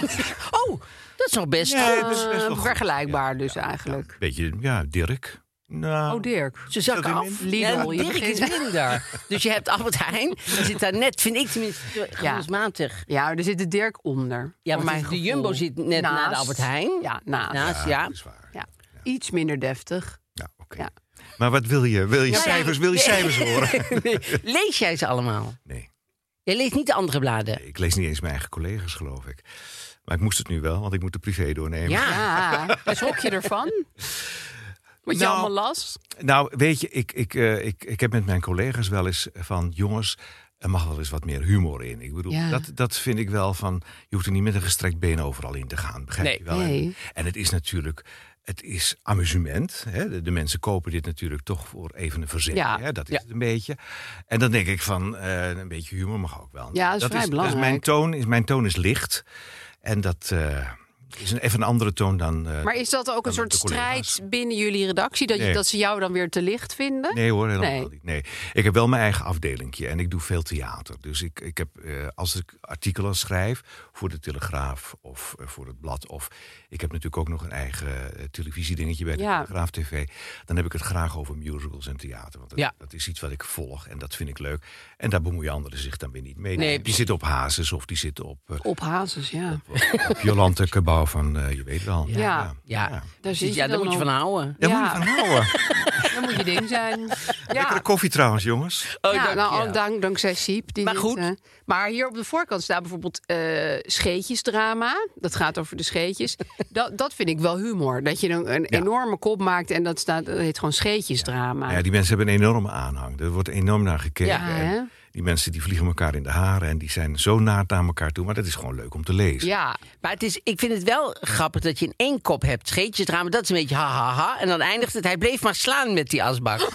Oh, dat is nog best. Nee, dat is best wel Eh, goed. vergelijkbaar dus Ja, eigenlijk. beetje, ja, Dirk. Nou, Oh, Dirk. Ze zakken dat af. in- Lidl, Ja, je Dirk is begint- minder. dus je hebt Albert Heijn. Die zit daar net, vind ik tenminste, gevoelsmatig. Ja, er zit de Dirk onder. Ja, voor maar mijn de gevoel. Jumbo zit net na de Naast. Albert Heijn. Ja, naast. Naast, ja. dat is waar. Ja. Iets minder deftig. Ja, nou, oké. Ja. Maar wat wil je? Wil je Ja, ja. cijfers? Wil je cijfers horen? Nee, Lees jij ze allemaal? Nee, Jij leest niet de andere bladen. ik lees niet eens mijn eigen collega's, geloof ik. Maar ik moest het nu wel, want ik moet de privé doornemen. Ja. Ja, daar schrok je ervan. Wat je Nou, allemaal las. eh, Nou, weet je, ik, ik, eh, ik, ik heb met mijn collega's wel eens van... jongens, er mag wel eens wat meer humor in. Ik bedoel, Ja. dat, dat vind ik wel van... je hoeft er niet met een gestrekt been overal in te gaan, begrijp Nee. je wel? Nee. En, en het is natuurlijk... Het is amusement. Hè? De, de mensen kopen dit natuurlijk toch voor even een verzet. Ja. Hè? Dat is Ja. het een beetje. En dan denk ik van, eh, een beetje humor mag ook wel. Ja, dat is vrij belangrijk. mijn, toon, is, mijn toon is licht. En dat eh, is een, even een andere toon dan... eh, Maar is dat ook een dan soort de collega's. strijd binnen jullie redactie? Dat, je, Nee. dat ze jou dan weer te licht vinden? Nee hoor, helemaal Nee. niet. Nee. Ik heb wel mijn eigen afdelingje en ik doe veel theater. Dus ik, ik heb, eh, als ik artikelen schrijf voor de Telegraaf of eh, voor het blad... of ik heb natuurlijk ook nog een eigen eh, televisiedingetje bij de Ja. Telegraaf TV... dan heb ik het graag over musicals en theater. Want dat, Ja. dat is iets wat ik volg en dat vind ik leuk. En daar bemoeien anderen zich dan weer niet mee. Nee, die zitten op Hazes of die zitten op... eh, Op hazes, ja. op- op Jolante Cabau van, eh, je weet wel. Ja. Ja, Ja. Daar zit ja daar je dan moet je op. van houden. Daar Ja. moet je van houden. Dan moet je ding zijn. Lekkere Ja, koffie trouwens, jongens. Oh, ja dank nou, je. ook dank, dankzij Siep. Die Maar dit, goed. eh, maar hier op de voorkant staat bijvoorbeeld eh, scheetjesdrama. Dat gaat over de scheetjes. dat, dat vind ik wel humor. Dat je een, een enorme kop maakt en dat, staat, dat heet gewoon scheetjesdrama. Ja, die mensen hebben een enorme aanhang. Er wordt enorm naar gekeken. Ja, En hè? die mensen die vliegen elkaar in de haren en die zijn zo naad naar elkaar toe. Maar dat is gewoon leuk om te lezen. ja. Maar het is, ik vind het wel grappig dat je in één kop hebt. Scheetjesdrama, dat is een beetje ha ha ha. En dan eindigt het, hij bleef maar slaan met die asbak.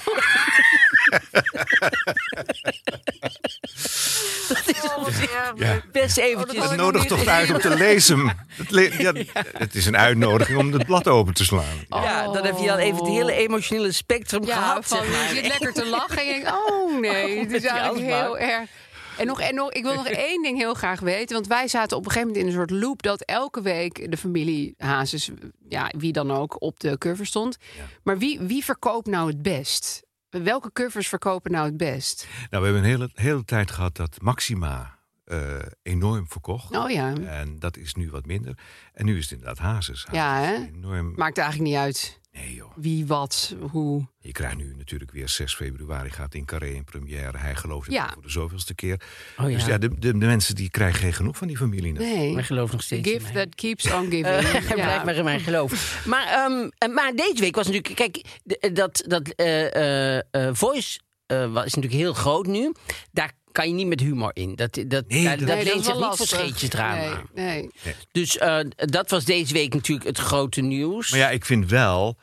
dat is Oh, op zich Ja. best eventjes. Het nodigt toch uit om te lezen. Het, le- ja, het is een uitnodiging om het blad open te slaan. Ja, dan heb je dan even het hele emotionele spectrum Ja, gehad. van, zeg je maar. zit lekker te lachen en je denkt, oh nee, het met is die eigenlijk asbak. heel erg. En nog, en nog, ik wil nog één ding heel graag weten. Want wij zaten op een gegeven moment in een soort loop... dat elke week de familie Hazes, ja, wie dan ook, op de cover stond. Maar wie, wie verkoopt nou het best? Welke covers verkopen nou het best? Nou, we hebben een hele, hele tijd gehad dat Maxima eh, enorm verkocht. Oh ja, En dat is nu wat minder. En nu is het inderdaad Hazes. Hazes Ja, hè? is Enorm... maakt eigenlijk niet uit Nee joh. wie, wat, hoe. Je krijgt nu natuurlijk weer 6 februari gaat in Carré in première. Hij gelooft het Ja. voor de zoveelste keer. Oh ja. Dus ja, de, de, de mensen die krijgen geen genoeg van die familie. nou. natuurlijk. Nee, Maar geloof nog steeds in give mij. that keeps on giving. Hij blijft maar in mijn geloof. Maar, ehm, eh, maar deze week was natuurlijk... Kijk, d- dat, dat eh, eh, eh, Voice eh, wa- is natuurlijk heel groot nu. Daar kan je niet met humor in. Dat, dat, Nee, daar- dat- dat Nee, leent zich is wel niet voor lastig. scheetjesdrama. Nee, nee. Dus eh, dat was deze week natuurlijk het grote nieuws. Maar ja, ik vind wel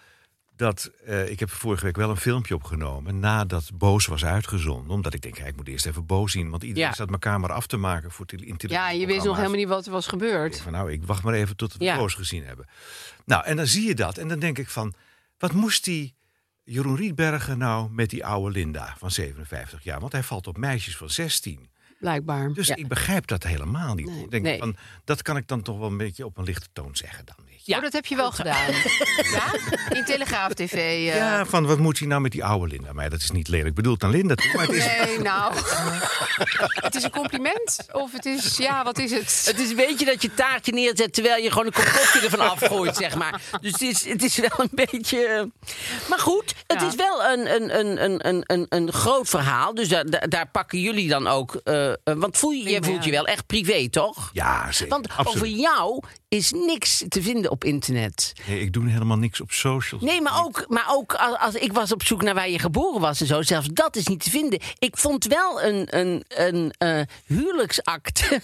dat. eh, ik heb vorige week wel een filmpje opgenomen. nadat Boos was uitgezonden. Omdat ik denk, ja, ik moet eerst even Boos zien. Want iedereen Ja. staat mijn camera af te maken voor tele- in Ja, je wist nog helemaal niet wat er was gebeurd. Van, nou, ik wacht maar even tot we Ja. Boos gezien hebben. Nou, en dan zie je dat. En dan denk ik van. wat moest die. Jeroen Rietbergen nou met die oude Linda van 57 jaar? Want hij valt op meisjes van 16. Blijkbaar. Dus ik begrijp dat helemaal niet. Ik denk Nee. van, dat kan ik dan toch wel een beetje op een lichte toon zeggen dan. Weet je. Ja. Oh, dat heb je wel gedaan. ja? In Telegraaf TV. eh. Ja, van wat moet hij nou met die oude Linda? Maar ja, dat is niet lelijk bedoeld aan Linda. toe, Maar het is, Nee, nou. het is een compliment. Of het is, ja, wat is het? Het is een beetje dat je taartje neerzet terwijl je gewoon een kopje ervan afgooit, zeg maar. Dus het is, het is wel een beetje. eh, Maar goed, het Ja. is wel een, een, een, een, een, een, een groot verhaal. Dus daar, daar, daar pakken jullie dan ook. eh, eh, want voel je, je voelt je wel echt privé, toch? ja, zeker. Want absoluut. over jou is niks te vinden op internet. Nee, ik doe helemaal niks op socials. Nee, maar ook, maar ook als, als ik was op zoek naar waar je geboren was en zo. Zelfs dat is niet te vinden. Ik vond wel een, een, een eh, huwelijksakte.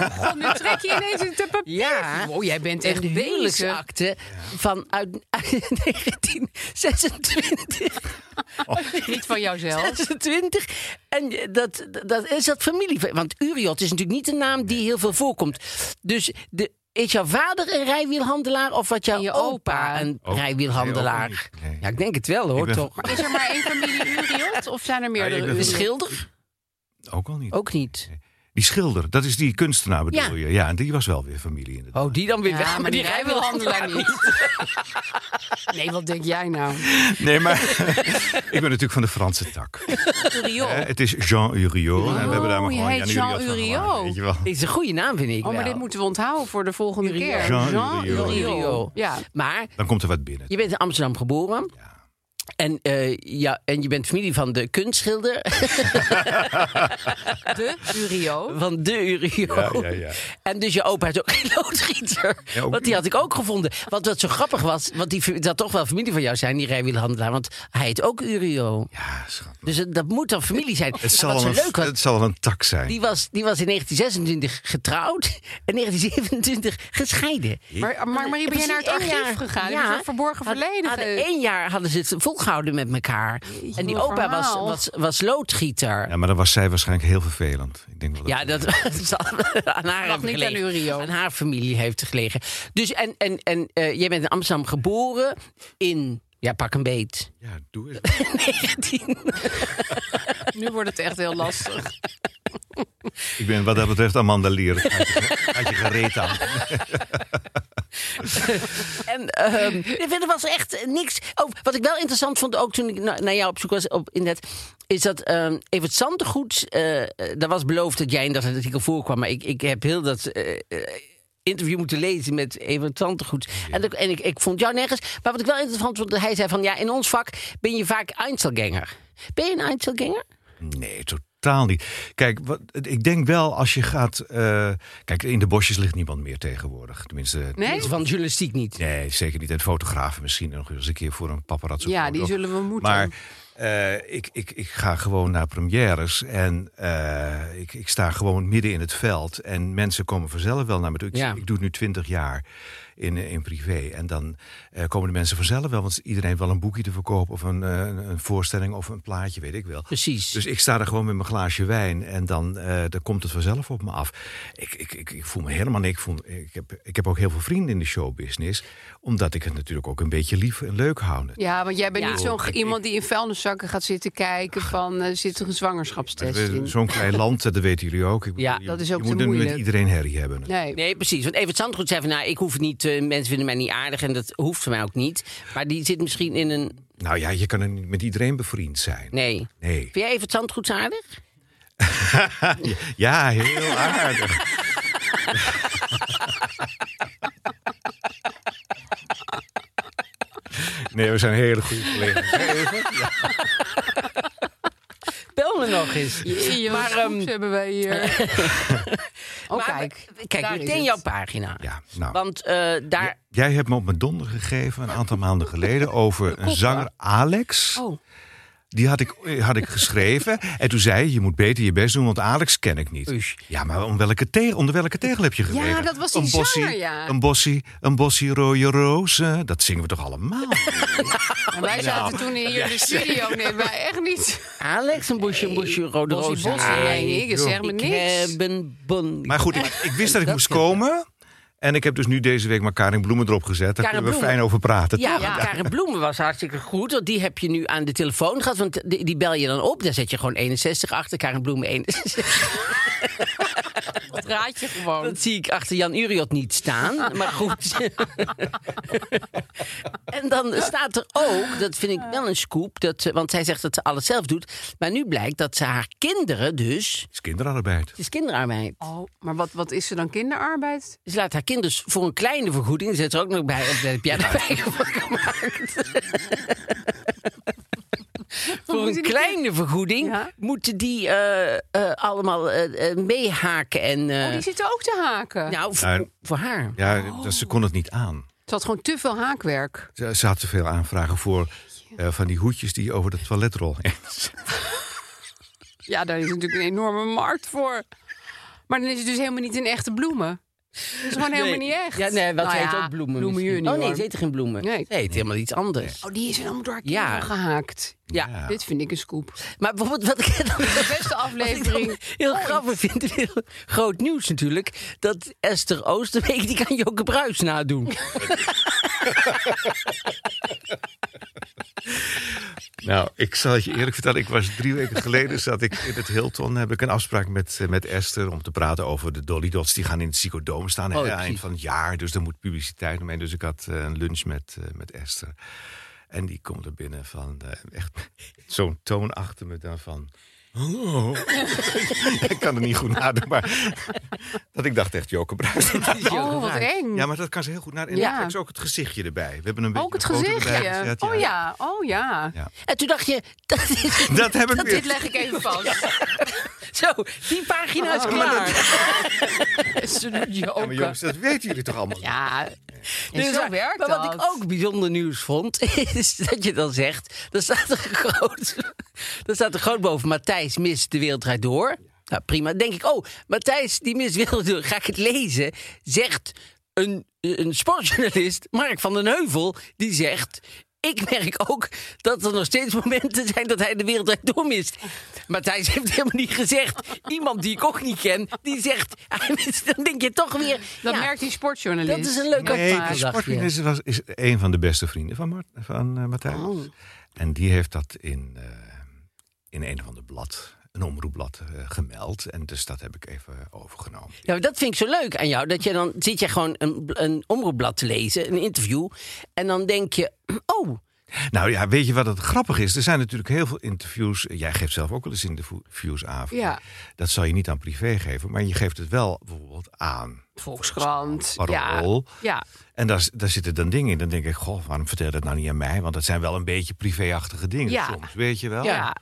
Oh, nu trek je ineens het papier. Ja. Oh, jij bent Een echt bezig. huwelijksakte van uit, uit 1926. Oh. Niet van jouzelf. 26. En eh, dat, dat is dat familie. Want Uriot is natuurlijk niet een naam die heel veel voorkomt. Dus de, is jouw vader een rijwielhandelaar of was jouw En je opa, opa. Oh, een Ook- rijwielhandelaar? nee, ook niet. Nee. Ja, ik denk het wel hoor, ben- toch? Is er maar één familie Uriot of zijn er meerdere ik ben- Een Uriot? schilder? Ook al niet. Ook niet. Die schilder, dat is die kunstenaar bedoel Ja. je. Ja, en die was wel weer familie inderdaad. Oh, die dan weer wel, Ja, maar die rijwielhandelaar niet. Nee, wat denk jij nou? Nee, maar ik ben natuurlijk van de Franse tak. Eh, Uriot. het is Jean Uriot. en we hebben daar Oh, maar je gewoon heet Jan Uriot Jean van gemaakt, Uriot. Weet je wel. Dit is een goede naam, vind ik Oh, maar wel. dit moeten we onthouden voor de volgende keer. Jean Uriot. Uriot. Ja. Maar Dan komt er wat binnen. je bent in Amsterdam geboren. En, eh, ja, en je bent familie van de kunstschilder, De Uriot. van de Uriot. Ja, ja, ja. En dus je opa is ook geen loodgieter. Ja, ook want die had ik ook gevonden. Want wat zo grappig was, want die, dat toch wel familie van jou zijn, die rijwielhandelaar. Want hij heet ook Uriot. Ja, Ah, schat. Dus het- dat moet dan familie zijn. Het En zal, wat zo een, leuk was, het zal een tak zijn. die was, die was in 1926 getrouwd en 1927 gescheiden. Maar, maar Marie, ben jij naar het Precies één archief jaar- gegaan? Ja. Ja. Een soort verborgen Had- verleden. hadden ge- één jaar hadden ze het volgehouden met elkaar. en die wat opa was, verhaal. was, was loodgieter. Ja, maar dan was zij waarschijnlijk heel vervelend. Ik denk wel dat Ja, dat zal aan haar Lag hebben niet aan gelegen. Uriot. Aan haar familie heeft gelegen. Dus en, en, en eh, jij bent in Amsterdam geboren in, ja pak een beet, Ja, doe eens. 19. Nu wordt het echt heel lastig. Ik ben wat dat betreft Amanda Lier. Had je, had je gereed aan. En ehm, nee, verder was er echt eh, niks. Oh, wat ik wel interessant vond, ook toen ik na- naar jou op zoek was op internet, is dat ehm Evert Sandegoed, eh eh, daar was beloofd dat jij in dat artikel voorkwam, maar ik, ik heb heel dat eh, eh, interview moeten lezen met Evert Sandegoed. En, dat- en ik, ik vond jou nergens. Maar wat ik wel interessant vond, hij zei van ja, in ons vak ben je vaak Einzelganger. Ben je een Einzelganger? Nee, totaal niet. Kijk, wat, ik denk wel als je gaat... eh, kijk, in de bosjes ligt niemand meer tegenwoordig. Tenminste, Nee? Van journalistiek niet. Nee, zeker niet. En fotografen misschien nog eens een keer voor een paparazzo. Ja, foto. die zullen we moeten. Maar eh, ik, ik, ik ga gewoon naar premières en eh, ik, ik sta gewoon midden in het veld. En mensen komen vanzelf wel naar me toe. Ik, Ja. ik doe het nu twintig jaar in, eh, in privé. En dan eh, komen de mensen vanzelf wel. Want iedereen heeft wel een boekje te verkopen of een, eh, een een voorstelling of een plaatje, weet ik wel. Precies. Dus ik sta daar gewoon met mijn glaasje wijn en dan, eh, dan komt het vanzelf op me af. Ik, ik, ik, ik voel me helemaal niks. Ik, voel, ik, heb, ik heb ook heel veel vrienden in de showbusiness, omdat ik het natuurlijk ook een beetje lief en leuk hou. Ja, Oh, want jij bent Ja. niet zo'n ge- iemand die in vuilniszakken gaat zitten kijken van eh, zit er een Maar zwangerschapstest we- in. Zo'n klein land, eh, dat weten jullie ook. Ik Ja, bedoel, dat je, is ook je te moet er nu met moeilijk. iedereen herrie hebben. Nee. Nee, precies. Want Evert Zandgoed zei van, nou, ik hoef het niet, eh, mensen vinden mij niet aardig en dat hoeft voor mij ook niet. Maar die zit misschien in een, Nou ja, je kan er niet met iedereen bevriend zijn. nee. Nee. Vind jij Evert Zandgoed aardig? Ja, heel aardig. Nee, we zijn hele goede collega's. Bel me nog eens. Zie je wat Maar, ehm, groeps hebben wij hier. oh, Maar kijk. we- Kijk, Daar is meteen het. jouw pagina. Ja, nou. Want eh, daar... Jij hebt me op mijn donder gegeven een aantal maanden geleden over een zanger Alex. Oh. Die had ik, eh, had ik geschreven. En toen zei je, je moet beter je best doen, want Alex ken ik niet. Oei. Ja, maar om welke tegel, onder welke tegel heb je gelegen? dat was die een bossie, zanger, ja. Een bossie, een bossie rode rozen. Dat zingen we toch allemaal? En wij zaten toen hier in de studio. Nee, wij echt niet. Alex, een bosje, een bosje, rode Bossie, roze. bossie, nee, ik zeg me Ik niks. heb een bon. Ah, maar goed, ik, ik wist dat ik moest komen. En ik heb dus nu deze week maar Karin Bloemen erop gezet. Daar Karin kunnen we Bloemen. fijn over praten. Ja, toch? want Karen Bloemen was hartstikke goed. Want die heb je nu aan de telefoon gehad. Want die, die bel je dan op. Daar zet je gewoon 61 achter. Karen Bloemen 61. Dat raad je gewoon. Dat zie ik achter Jan Uriot niet staan. Maar goed. en dan staat er ook, dat vind ik wel een scoop. Dat, ze- want zij zegt dat ze alles zelf doet. Maar nu blijkt dat ze haar kinderen dus... Het is kinderarbeid. Het is kinderarbeid. Oh, maar wat, wat is ze dan? Kinderarbeid? Oh, Ze laat haar kinderen voor een kleine vergoeding. die Zet er ook nog bij. Daar heb jij erbij voor gemaakt. voor moeten een die- kleine vergoeding Ja. moeten die eh, eh, allemaal eh, eh, meehaken. En, eh, Oh, die zitten ook te haken. Nou, voor, Nou, voor haar. Ja, dat, ze kon het niet aan. Het had gewoon te veel haakwerk. Ze, ze had te veel aanvragen voor eh, van die hoedjes die over de toiletrol heen. Ja, daar is natuurlijk een enorme markt voor. Maar dan is het dus helemaal niet in echte bloemen. Dat is gewoon helemaal niet echt. Ja, nee, wat Nou heet ja, ook bloemen? Bloemen misschien. junior. Oh nee, ze heet geen bloemen. Nee. Ze heet helemaal iets anders. Oh, die is helemaal door haar Ja. kinderen gehaakt. Ja. Dit vind ik een scoop. Maar bijvoorbeeld wat ik dan De beste aflevering. heel grappig vind, heel groot nieuws natuurlijk, dat Esther Oosterbeek, die kan Joke Bruis nadoen. Nou, ik zal het je eerlijk vertellen. Ik was drie weken geleden zat ik in het Hilton. Heb ik een afspraak met, eh, met Esther om te praten over de Dolly Dots. Die gaan in het Psychodome staan. hè, Oh, ja, eind precies. van het jaar. Dus daar moet publiciteit omheen. Dus ik had eh, een lunch met, eh, met Esther. En die komt er binnen van eh, echt met zo'n toon achter me dan van. "Oh." ik kan het niet goed nadoen, maar dat ik dacht echt Joke Bruis. Oh, wat eng. Ja, maar dat kan ze heel goed naar. En Ja. ja. is ook het gezichtje erbij. We hebben een beetje ook het de foto erbij gezichtje. gezet, Oh ja, oh ja. Ja. En toen dacht je, dat is, Dat heb ik weer. Dit leg ik even vast. Oh, zo, die pagina is klaar. Ze doet je Ja, maar jongens, dat weten jullie toch allemaal? Ja, en Dus zo maar- werkt maar wat dat. ik ook bijzonder nieuws vond, is dat je dan zegt, er staat er groot, er staat er groot boven, Matthijs mist de wereld draait door. Nou, prima. Dan denk ik, oh, Matthijs die mist de wereld door, ga ik het lezen, zegt een, een sportjournalist, Mark van den Heuvel, die zegt... Ik merk ook dat er nog steeds momenten zijn dat hij de wereld draait door mist. Matthijs heeft helemaal niet gezegd. Iemand die ik ook niet ken, die zegt... Hij mist, dan denk je toch weer... Dat ja, merkt die sportjournalist. dat is een leuke Nee, paar, dacht de je. sportjournalist was, is een van de beste vrienden van, Mart, van eh, Matthijs. Oh. En die heeft dat in, eh, in een of ander blad, een omroepblad, eh, gemeld. En dus dat heb ik even overgenomen. Ja, maar dat vind ik zo leuk aan jou. Dat je dan zit je gewoon een, een omroepblad te lezen, een interview. En dan denk je, oh, Nou ja, weet je wat het grappig is? Er zijn natuurlijk heel veel interviews. Jij geeft zelf ook wel eens interviews aan. Ja. Dat zal je niet aan privé geven, maar je geeft het wel bijvoorbeeld aan. Volkskrant. Parool. Ja. ja. En daar, daar zitten dan dingen in. Dan denk ik, goh, waarom vertel je dat nou niet aan mij? Want dat zijn wel een beetje privéachtige dingen Ja. soms, weet je wel? Ja.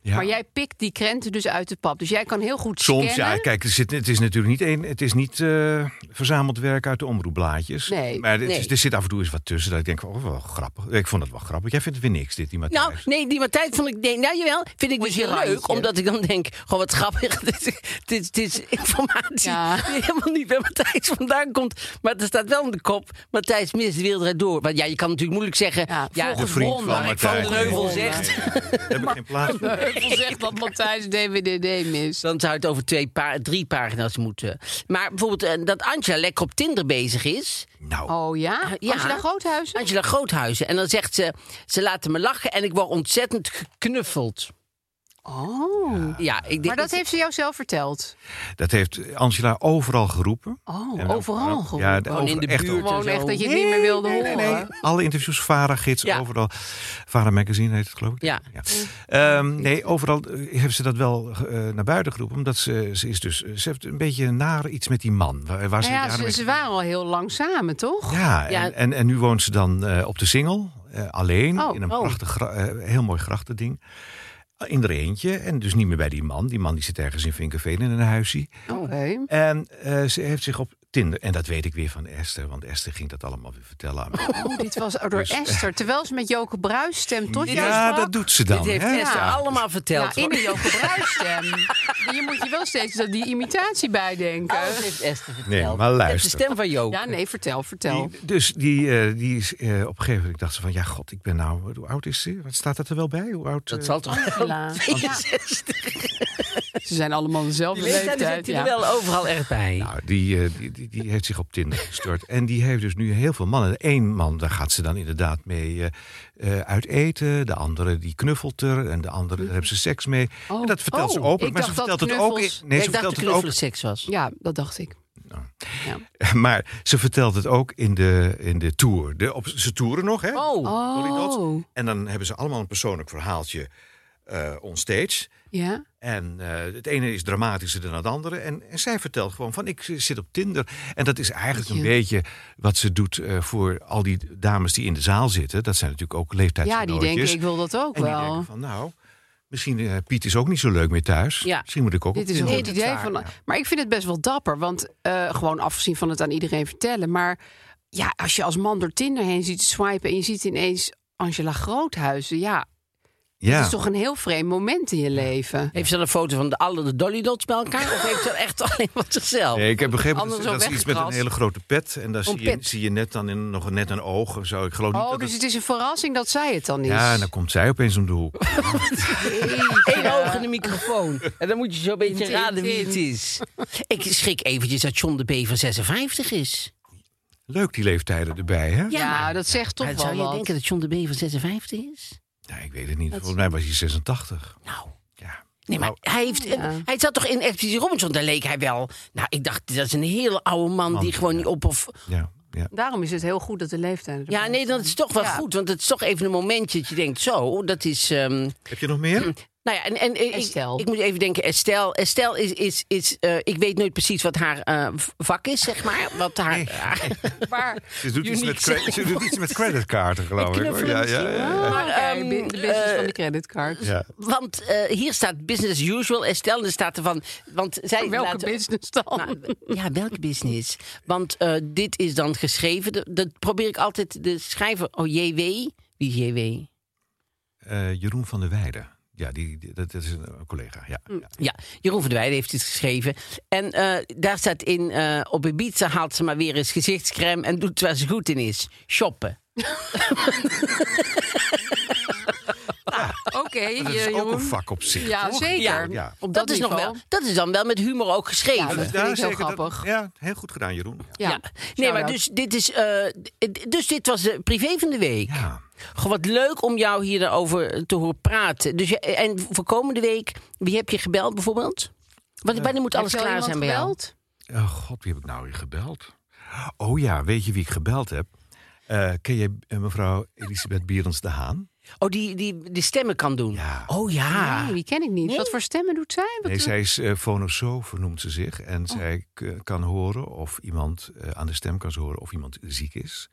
Ja. Maar jij pikt die krenten dus uit de pap. Dus jij kan heel goed Soms, scannen. ja. Kijk, er zit, het is natuurlijk niet, één, het is niet eh, verzameld werk uit de omroepblaadjes. Nee, maar het nee. is- er zit af en toe eens wat tussen dat ik denk, oh, wel grappig. Ik vond het wel grappig. Jij vindt het weer niks, dit, die Matthijs. nou, nee, die Matthijs vond ik, nee, nou jawel, vind ik dus je heel leuk. randje. Omdat ik dan denk, gewoon wat grappig, dit is, dit is, dit is informatie Ja. die helemaal niet bij Matthijs vandaan komt. Maar er staat wel in de kop, Matthijs mist de wereld eruit door. Want ja, je kan natuurlijk moeilijk zeggen, Ja, ja, de volgens vriend Bron, van Mark van Matthijs. den Heuvel zegt. Nee, nee, nee. Daar heb ik geen plaats voor. Heuvel zegt dat Matthijs DWDD mist. Dan zou het over twee pa- drie pagina's moeten. Maar bijvoorbeeld eh, dat Angela lekker op Tinder bezig is. Nou, Oh ja? Ja. Angela Groothuizen? Angela Groothuizen. En dan zegt ze, ze laten me lachen en ik word ontzettend geknuffeld. Oh. Ja, ik denk, Maar dat heeft ze jou zelf verteld? dat heeft Angela overal geroepen. Oh, En dan- overal gewoon. nou, Ja, Gewoon in de echt buurt. overal. Gewoon zo. echt dat je het niet meer wilde Nee, horen. nee, nee. Alle interviews, Vara gids, Ja. overal. Vara magazine heet het, geloof ik. Ja. Ehm, nee, overal eh, heeft ze dat wel eh, naar buiten geroepen. Omdat ze, ze is dus, ze heeft een beetje naar iets met die man. Waar, waar ze Nou ja, jaren ze, mee- ze waren al heel lang samen, toch? Ja, Ja. En, en, en nu woont ze dan eh, op de Singel. eh, alleen, Oh, in een oh. prachtig, gra- eh, heel mooi grachtending. Eh, In haar eentje. En dus niet meer bij die man. Die man die zit ergens in Vinkenveen in een huisje. Oké. En eh, ze heeft zich op Tinder... En dat weet ik weer van Esther. Want Esther ging dat allemaal weer vertellen aan mij. Oh, dit was door Dus- Esther. Terwijl ze met Joke Bruis stemt tot jou Ja, sprak. dat doet ze dit dan. heeft hè? Esther Ja. allemaal verteld. Ja, in een Joke Bruis stem. je moet je wel steeds dat die imitatie bijdenken. Alles heeft Esther verteld. Nee, Het maar is luister. de stem van Joop. Ja, nee, vertel, vertel. Die- dus die, eh, die is eh, op een gegeven moment dacht ze van ja, god, ik ben nou, hoe oud is ze? Wat staat dat er wel bij? Hoe oud? Dat eh, zal toch wel... Ja. 62. Ze zijn allemaal dezelfde Die leeftijd leeftijd. zit hij ja. er wel overal echt bij. Nou, die, eh, die, die, die heeft zich op Tinder gestort. En die heeft dus nu heel veel mannen. Eén man, daar gaat ze dan inderdaad mee eh, eh, uit eten. De andere, die knuffelt er. En de andere, daar hebben ze seks mee. Oh. en dat vertelt ze Oh, open. ik Maar ze dacht dat vertelt het ook. in- knuffels- Nee, ze ik dacht dat vertelt het knuffelen ook. seks was. Ja, dat dacht ik. Ja. Maar ze vertelt het ook in de, in de tour. De, op, ze toeren nog, hè? Oh, Dolly Dots. Oh. En dan hebben ze allemaal een persoonlijk verhaaltje eh onstage. Ja. En eh, het ene is dramatischer dan het andere. En, en zij vertelt gewoon van ik zit op Tinder. En dat is eigenlijk een Ja. beetje wat ze doet eh, voor al die dames die in de zaal zitten. Dat zijn natuurlijk ook ja, leeftijdsgenootjes. die denken, ik wil dat ook en die wel. denken van nou, misschien eh, Piet is ook niet zo leuk meer thuis. Ja. Misschien moet oh, ik ook Dit op is een Tinder. goed idee. Van, Maar ik vind het best wel dapper. Want eh, gewoon afgezien van het aan iedereen vertellen. Maar ja, als je als man door Tinder heen ziet swipen... en je ziet ineens Angela Groothuizen. Ja, Ja. het is toch een heel vreemd moment in je leven. Heeft ze dan een foto van de, alle de Dolly Dots bij elkaar? Of heeft ze echt alleen wat zichzelf? Nee, ik heb begrepen dat, Anders ze- zo dat ze iets met een weggekrast. hele grote pet. En daar zie je, pet. zie je net dan in, nog net een oog of zo. Ik geloof niet Oh, dat dus het- het is een verrassing dat zij het dan is. Ja, en dan komt zij opeens om de hoek. Eén oog in de microfoon. En dan moet je zo'n beetje Tint, raden wie tint. het is. Ik schrik eventjes dat John de B van 56 is. Leuk die leeftijden erbij, hè? Ja, dat zegt toch Maar wel zou je wat. denken dat John de B van 56 is? Nou, ik weet het niet. Volgens mij was hij 86. Nou. Ja. Nou, Nee, maar hij, heeft, hij zat toch in Expeditie Robinson? Daar leek hij wel. Nou, ik dacht, dat is een hele oude man, die gewoon niet op of... Ja, ja. Daarom is het heel goed dat de leeftijd... erbij Ja, nee, dat is toch wel Ja. goed. Want het is toch even een momentje dat je denkt, zo, dat is... ehm, Heb je nog Hmm. meer? Nou ja, en, en ik- Estelle. Ik, moet even denken, Estelle, Estelle is, is, is eh, ik weet nooit precies wat haar eh, v- vak is, zeg maar. Wat haar, Maar Ze doet, iets Unique met, zijn. cre- ze doet iets met creditkaarten, geloof ik. hoor. Ja, ja, ja. Maar, Oké, ehm, bi- de business eh, van de creditcard. ja. want eh, hier staat business as usual, Estelle, en er staat ervan, want zij... Welke laat- business dan? Nou, ja, welke business? Want eh, dit is dan geschreven, dat, dat probeer ik altijd, de schrijver, oh, JW, wie is JW? Eh, Jeroen van der Weijden. Ja, die, die- dat is een een collega. Ja, Hmm. ja. Ja, Jeroen van der Weijden heeft het geschreven. En eh, daar staat in, eh op Ibiza haalt ze maar weer eens gezichtscrème... en doet waar ze goed in is. Shoppen. Oké, Dat is ook een vak op zich. Ja, toch? zeker. Ja. Ja. Op dat, Dat, is, nog niveau. wel, dat is dan wel met humor ook geschreven. Ja, dat- vind ik heel zeker. Dat- grappig. ja, heel goed gedaan, Jeroen. Ja. Ja. Nee, maar Shout-out. dus dit, is, eh, d- dus dit was de privé van de week. Ja. Goh, wat leuk om jou hierover te horen praten. Dus je, en voor komende week, wie heb je gebeld bijvoorbeeld? Want wanneer moet alles Eh, Heb je al klaar zijn iemand bij jou? gebeld? Oh god, wie heb ik nou weer gebeld? Oh ja, weet je wie ik gebeld heb? Eh, ken je eh, mevrouw Elisabeth Bierens de Haan? Oh, die, die, die stemmen kan doen. Ja. Oh ja. Nee, die ken ik niet. Wat voor stemmen doet zij? Wat Nee, doet- zij is eh fonosoof, noemt ze zich. En Oh. zij k- kan horen of iemand eh, aan de stem kan ze horen of iemand ziek is.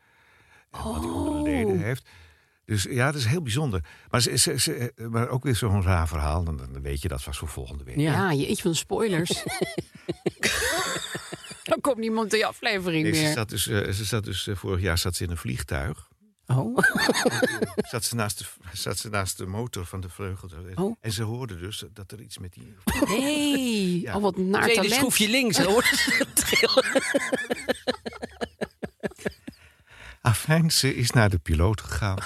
En wat hij onder Oh. de leden heeft. Dus ja, dat is heel bijzonder. Maar, ze, ze- ze- eh, maar ook weer zo'n raar verhaal. Dan, dan weet je dat was voor volgende week. Ja, je iets van spoilers. Dan komt niemand in je aflevering Nee, ze meer. zat dus, eh, ze zat dus eh, vorig jaar zat ze in een vliegtuig. Oh. Zat ze naast de, zat ze naast de motor van de vleugel. Oh. En ze hoorde dus dat er iets met die... Nee, Ja. oh wat naar Tweede talent. schroefje links, dan hoor je het trillen. Afijn, ze is naar de piloot gegaan.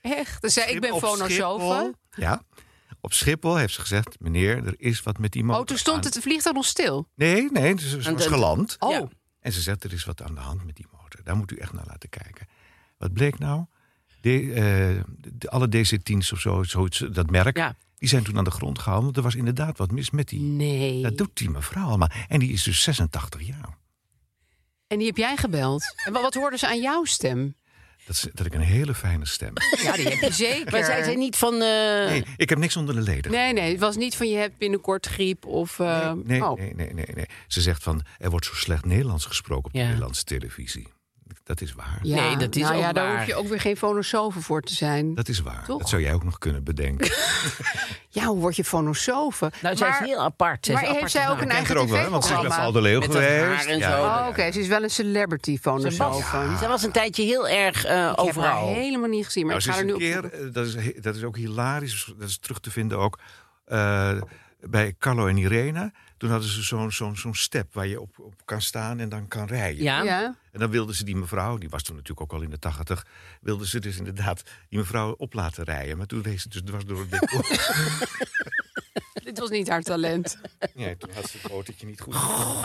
Echt. Dus zei, ik ben Op Schiphol- fonosofe. Ja. Op Schiphol heeft ze gezegd, meneer, er is wat met die motor Oh, toen stond aan- het vliegtuig nog stil. Nee, nee, ze, ze was de- geland. Oh, Ja. En ze zegt, er is wat aan de hand met die motor. Daar moet u echt naar laten kijken. Wat bleek nou? De, eh, de- alle DC-10's of zo, zoiets, dat merk, Ja. die zijn toen aan de grond gehaald. Want er was inderdaad wat mis met die. nee. Dat doet die mevrouw allemaal. En die is dus 86 jaar. En die heb jij gebeld. En wa- wat hoorden ze aan jouw stem? Dat, is- dat ik een hele fijne stem heb. Ja, die heb je zeker. Maar zij zijn niet van... eh, Nee, ik heb niks onder de leden. Nee, nee, het was niet van je hebt binnenkort griep of... eh, Nee, oh. nee, nee, nee, nee. Ze zegt van, er wordt zo slecht Nederlands gesproken op de Ja. Nederlandse televisie. Dat is waar. Ja, Nee, dat is nou ook ja, daar waar. hoef je ook weer geen fonosofe voor te zijn. Dat is waar. Toch? Dat zou jij ook nog kunnen bedenken. Ja, hoe word je fonosofe? Nou, zij is heel apart. Zij maar is een heeft aparte zij ook vrouw. een Kent eigen er ook wel, hè? want ze is met Al tv-programma? de Leeuw Met dat haar geweest. en Ja. Nou, zo. Oh, oké, ze is wel een celebrity Ze was, fonosofe. ze was een tijdje heel erg eh, Ik heb haar overal. helemaal niet gezien, maar Nou, ze ik is ga er nu een op... keer, eh, dat is, he- dat is ook hilarisch, dat is terug te vinden ook eh, bij Carlo en Irene. Toen hadden ze zo'n zo'n zo'n step waar je op, op kan staan en dan kan rijden. Ja. Ja. En dan wilden ze die mevrouw, die was toen natuurlijk ook al in de tachtig, wilden ze dus inderdaad die mevrouw op laten rijden. Maar toen reed ze dus dwars door het decor. Dit was niet haar talent. nee, toen had ze het motortje niet goed.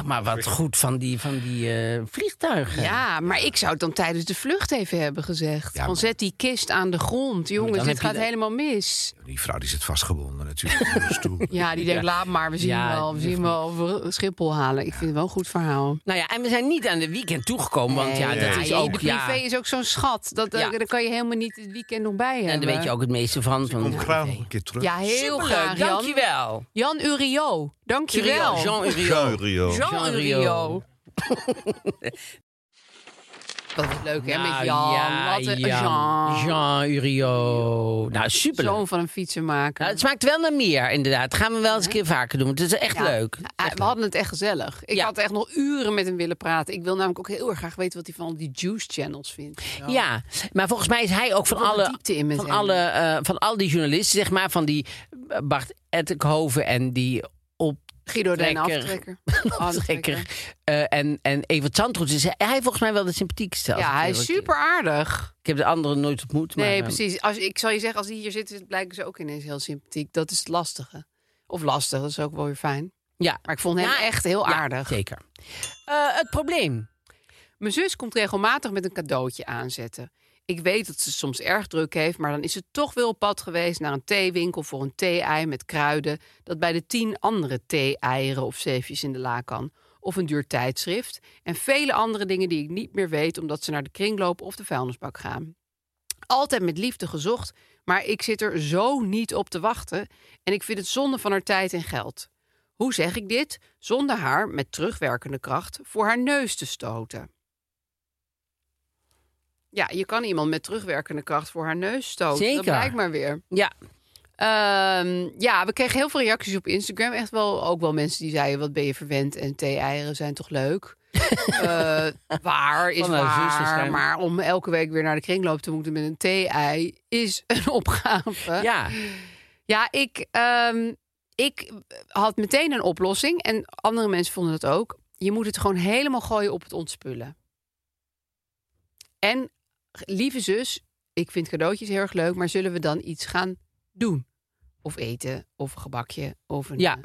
Maar wat goed van die, van die eh, vliegtuigen. Ja, maar ik zou het dan tijdens de vlucht even hebben gezegd. Ja, Van maar- zet die kist aan de grond. Jongens, dan dit heb je gaat dat- helemaal mis. Die vrouw die zit vastgebonden natuurlijk. aan de stoel. Ja, die denkt, laat maar, we zien Ja, wel. We zien wel of we Schiphol halen. Ik vind het wel een goed verhaal. Nou ja, en we zijn niet aan de weekend toegekomen. Want ja, dat is ook... de Ja, privé is ook zo'n schat. Dat, eh, Ja. Daar kan je helemaal niet het weekend nog bij hebben. en daar weet je ook het meeste van. van Kom graag nog een keer terug. Ja, heel Superleuk, graag, Jan. dankjewel. Jan Urio, dankjewel. Jean Uriot. Jean Rio. Jean Urio. Dat was leuk, hè, met Jan. Wat een Jean. Jean Uriot. Nou, superleuk. Zoon van een fietsenmaker. Nou, het smaakt wel naar meer, inderdaad. Dat gaan we wel eens een keer vaker doen. want Het is echt Ja, leuk. eh, We hadden het echt gezellig. Ik Ja. had echt nog uren met hem willen praten. Ik wil namelijk ook heel erg graag weten wat hij van die juice channels vindt. Ja, maar volgens mij is hij ook van Wat een alle, diepte in Oh. met van hem. alle eh, van al die journalisten, zeg maar, van die eh, Bart Ettenhoven en die op Guido Den Trekker. Aftrekker. aftrekker eh, en, en Evert Zandroets. Is hij, hij volgens mij wel de sympathiekste. als Ja, ik hij is eerlijk ben. super aardig. Ik heb de anderen nooit ontmoet. maar, Nee, eh, precies. Als, ik zal je zeggen, als die hier zitten, blijken ze ook ineens heel sympathiek. Dat is het lastige. Of lastig, dat is ook wel weer fijn. Ja, Maar ik vond hem Ja, echt heel ja, aardig. zeker. Eh, het probleem. Mijn zus komt regelmatig met een cadeautje aanzetten. Ik weet dat ze soms erg druk heeft, maar dan is ze toch weer op pad geweest naar een theewinkel voor een thee-ei met kruiden. Dat bij de tien andere thee-eieren of zeefjes in de la kan. Of een duur tijdschrift. En vele andere dingen die ik niet meer weet, omdat ze naar de kringloop of de vuilnisbak gaan. Altijd met liefde gezocht, maar ik zit er zo niet op te wachten. En ik vind het zonde van haar tijd en geld. Hoe zeg ik dit? Zonder haar met terugwerkende kracht voor haar neus te stoten. Ja, je kan iemand met terugwerkende kracht voor haar neus stoten. Zeker. Dat blijkt maar weer. Ja, Ehm, ja, we kregen heel veel reacties op Instagram. Echt wel ook wel mensen die zeiden: wat ben je verwend en thee-eieren zijn toch leuk? Eh, waar is Van haar zus waar, waarschijnlijk. maar om elke week weer naar de kringloop te moeten met een thee-ei is een opgave. ja. Ja, ik, ehm, ik had meteen een oplossing. En andere mensen vonden dat ook. Je moet het gewoon helemaal gooien op het ontspullen. En lieve zus, ik vind cadeautjes heel erg leuk. Maar zullen we dan iets gaan doen? Of eten, of een gebakje, of een... Ja.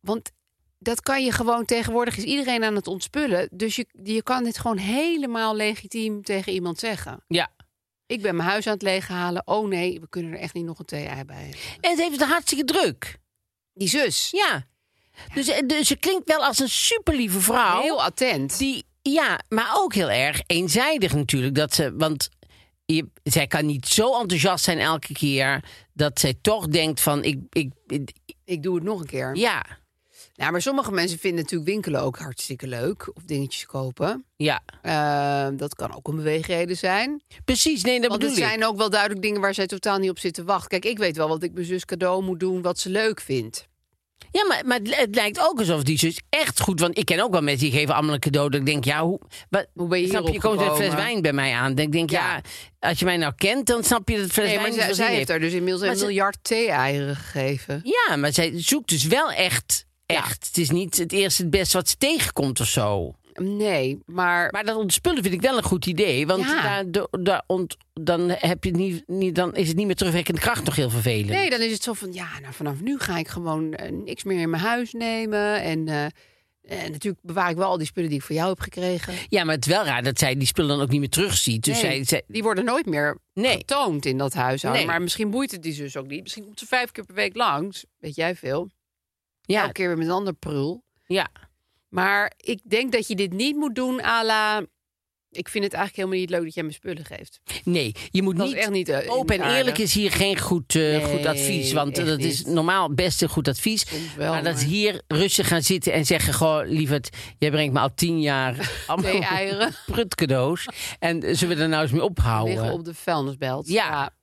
Want dat kan je gewoon... Tegenwoordig is iedereen aan het ontspullen. Dus je, je kan dit gewoon helemaal legitiem tegen iemand zeggen. ja. Ik ben mijn huis aan het leeghalen. Oh nee, we kunnen er echt niet nog een thee-ei bij hebben. En ze heeft het hartstikke druk. Die zus. Ja. Dus, eh, dus ze klinkt wel als een superlieve vrouw. Heel attent. Nou. Die, ja, maar ook heel erg eenzijdig natuurlijk. Dat ze, want je, zij kan niet zo enthousiast zijn elke keer... dat zij toch denkt van, ik, ik, ik- Ik doe het nog een keer. ja, Nou, maar sommige mensen vinden natuurlijk winkelen ook hartstikke leuk. Of dingetjes kopen. ja. Eh, dat kan ook een beweegreden zijn. Precies, nee, dat Want er bedoel ik. zijn ook wel duidelijk dingen waar zij totaal niet op zit te wachten. Kijk, ik weet wel wat ik mijn zus cadeau moet doen, wat ze leuk vindt. Ja, maar, maar het, het lijkt ook alsof die zus echt goed... want ik ken ook wel mensen die geven allemaal een cadeau... dat ik denk, ja, hoe... Wat, Hoe ben je snap je, je hierop komt een fles gekomen? wijn bij mij aan. Dat ik denk, ja. Ja. als je mij nou kent... dan snap je dat fles wijn Nee, maar niet zij, veel zin zij heeft daar dus inmiddels Maar een ze- miljard thee-eieren gegeven. Ja, maar zij zoekt dus wel echt... Echt. Het is niet het eerste het beste wat ze tegenkomt of zo. Nee, maar, Maar dat ontspullen vind ik wel een goed idee. Want Ja. daar, do- daar ont- dan, heb je het niet, niet, dan is het niet meer terugwerkende kracht nog heel vervelend. nee, dan is het zo van... Ja, nou, vanaf nu ga ik gewoon eh, niks meer in mijn huis nemen. En, eh, en natuurlijk bewaar ik wel al die spullen die ik voor jou heb gekregen. Ja, maar het is wel raar dat zij die spullen dan ook niet meer terugziet. Dus Nee, zij, zij- die worden nooit meer Nee. getoond in dat huishouden. Nee. Maar misschien boeit het die zus ook niet. Misschien komt ze vijf keer per week langs. Weet jij veel. ja, Elke keer weer met een ander prul. ja, Maar ik denk dat je dit niet moet doen à la... Ik vind het eigenlijk helemaal niet leuk dat jij me spullen geeft. nee, je moet Dat is niet... echt niet, eh, open en aardig. eerlijk is hier geen goed, eh, Nee, goed advies. Want eh, echt dat is niet. normaal best een goed advies. Soms wel, maar Nou, dat maar- is hier rustig gaan zitten en zeggen... Goh, lieverd, jij brengt me al tien jaar allemaal eieren. prutcadeaus. En eh, zullen we er nou eens mee ophouden? Liggen op de vuilnisbelt. Ja.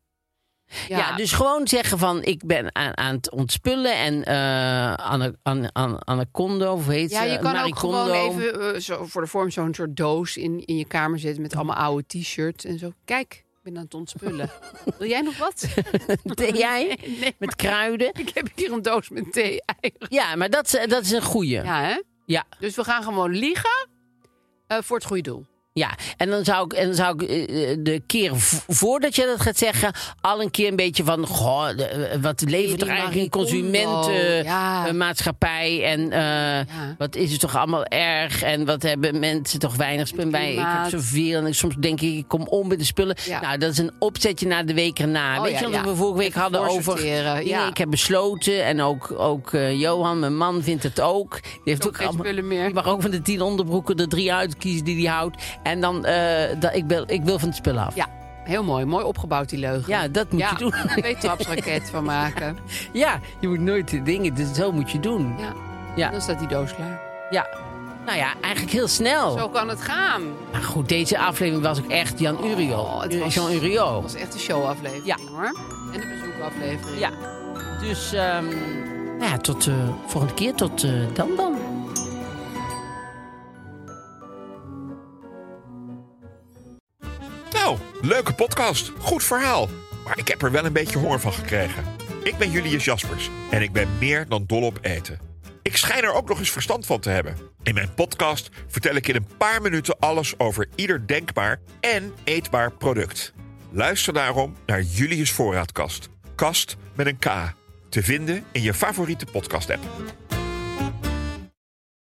Ja. Ja. dus gewoon zeggen van ik ben aan, aan het ontspullen en eh Anne, Anne, Anne, Anacondo, of heet Ja, ze? je kan ook Maricondo. gewoon even eh, zo, voor de vorm zo'n soort doos in, in je kamer zetten... met allemaal oude t-shirts en zo. Kijk, ik ben aan het ontspullen. Wil jij nog wat? Deed jij? Met kruiden. Ik heb hier een doos met thee-eieren. Ja, maar dat, is- dat is een goeie. Ja. Ja, hè? Ja. Dus we gaan gewoon liegen eh, voor het goede doel. Ja, en dan zou ik, en dan zou ik eh, eh, de keer v- voordat je dat gaat zeggen, al een keer een beetje van: goh, de- eh, wat levert er Marie eigenlijk eh, een Kondo, ja. consumentenmaatschappij? En eh, wat is het toch allemaal erg? En wat hebben mensen toch weinig spullen bij? Ik heb klimaat. zoveel en ik, soms denk ik, ik kom om met de spullen. Ja. Nou, dat is een opzetje naar de week erna. Oh, Weet ja, je wat ja. we vorige week Even hadden over. voorsorteren, dingen? ja. Ik heb besloten en ook, ook eh, Johan, mijn man, vindt het ook. Die heeft Ook ook geen allemaal, spullen meer. die mag ook van de tien onderbroeken de drie uitkiezen die hij houdt. En dan, eh, dat, ik, wil, ik wil van het spul af. Ja, heel mooi. Mooi opgebouwd, die leugen. Ja, dat moet je doen. Twee trapsraket van maken. Ja, je moet nooit de dingen, dus zo moet je doen. Ja. Ja. Dan staat die doos klaar. Ja. Nou ja, eigenlijk heel snel. Zo kan het gaan. Maar goed, deze aflevering was ook echt Jan Uriol. Oh, het Ur- was- Jean Dat Uriol. was echt een showaflevering Ja. hoor. En de bezoekaflevering. Ja. Dus, ehm, nou ja, tot eh volgende keer. Tot eh, dan dan. Nou, leuke podcast. Goed verhaal. Maar ik heb er wel een beetje honger van gekregen. Ik ben Julius Jaspers en ik ben meer dan dol op eten. Ik schijn er ook nog eens verstand van te hebben. In mijn podcast vertel ik in een paar minuten alles over ieder denkbaar en eetbaar product. Luister daarom naar Julius Voorraadkast. Kast met een K. Te vinden in je favoriete podcast-app.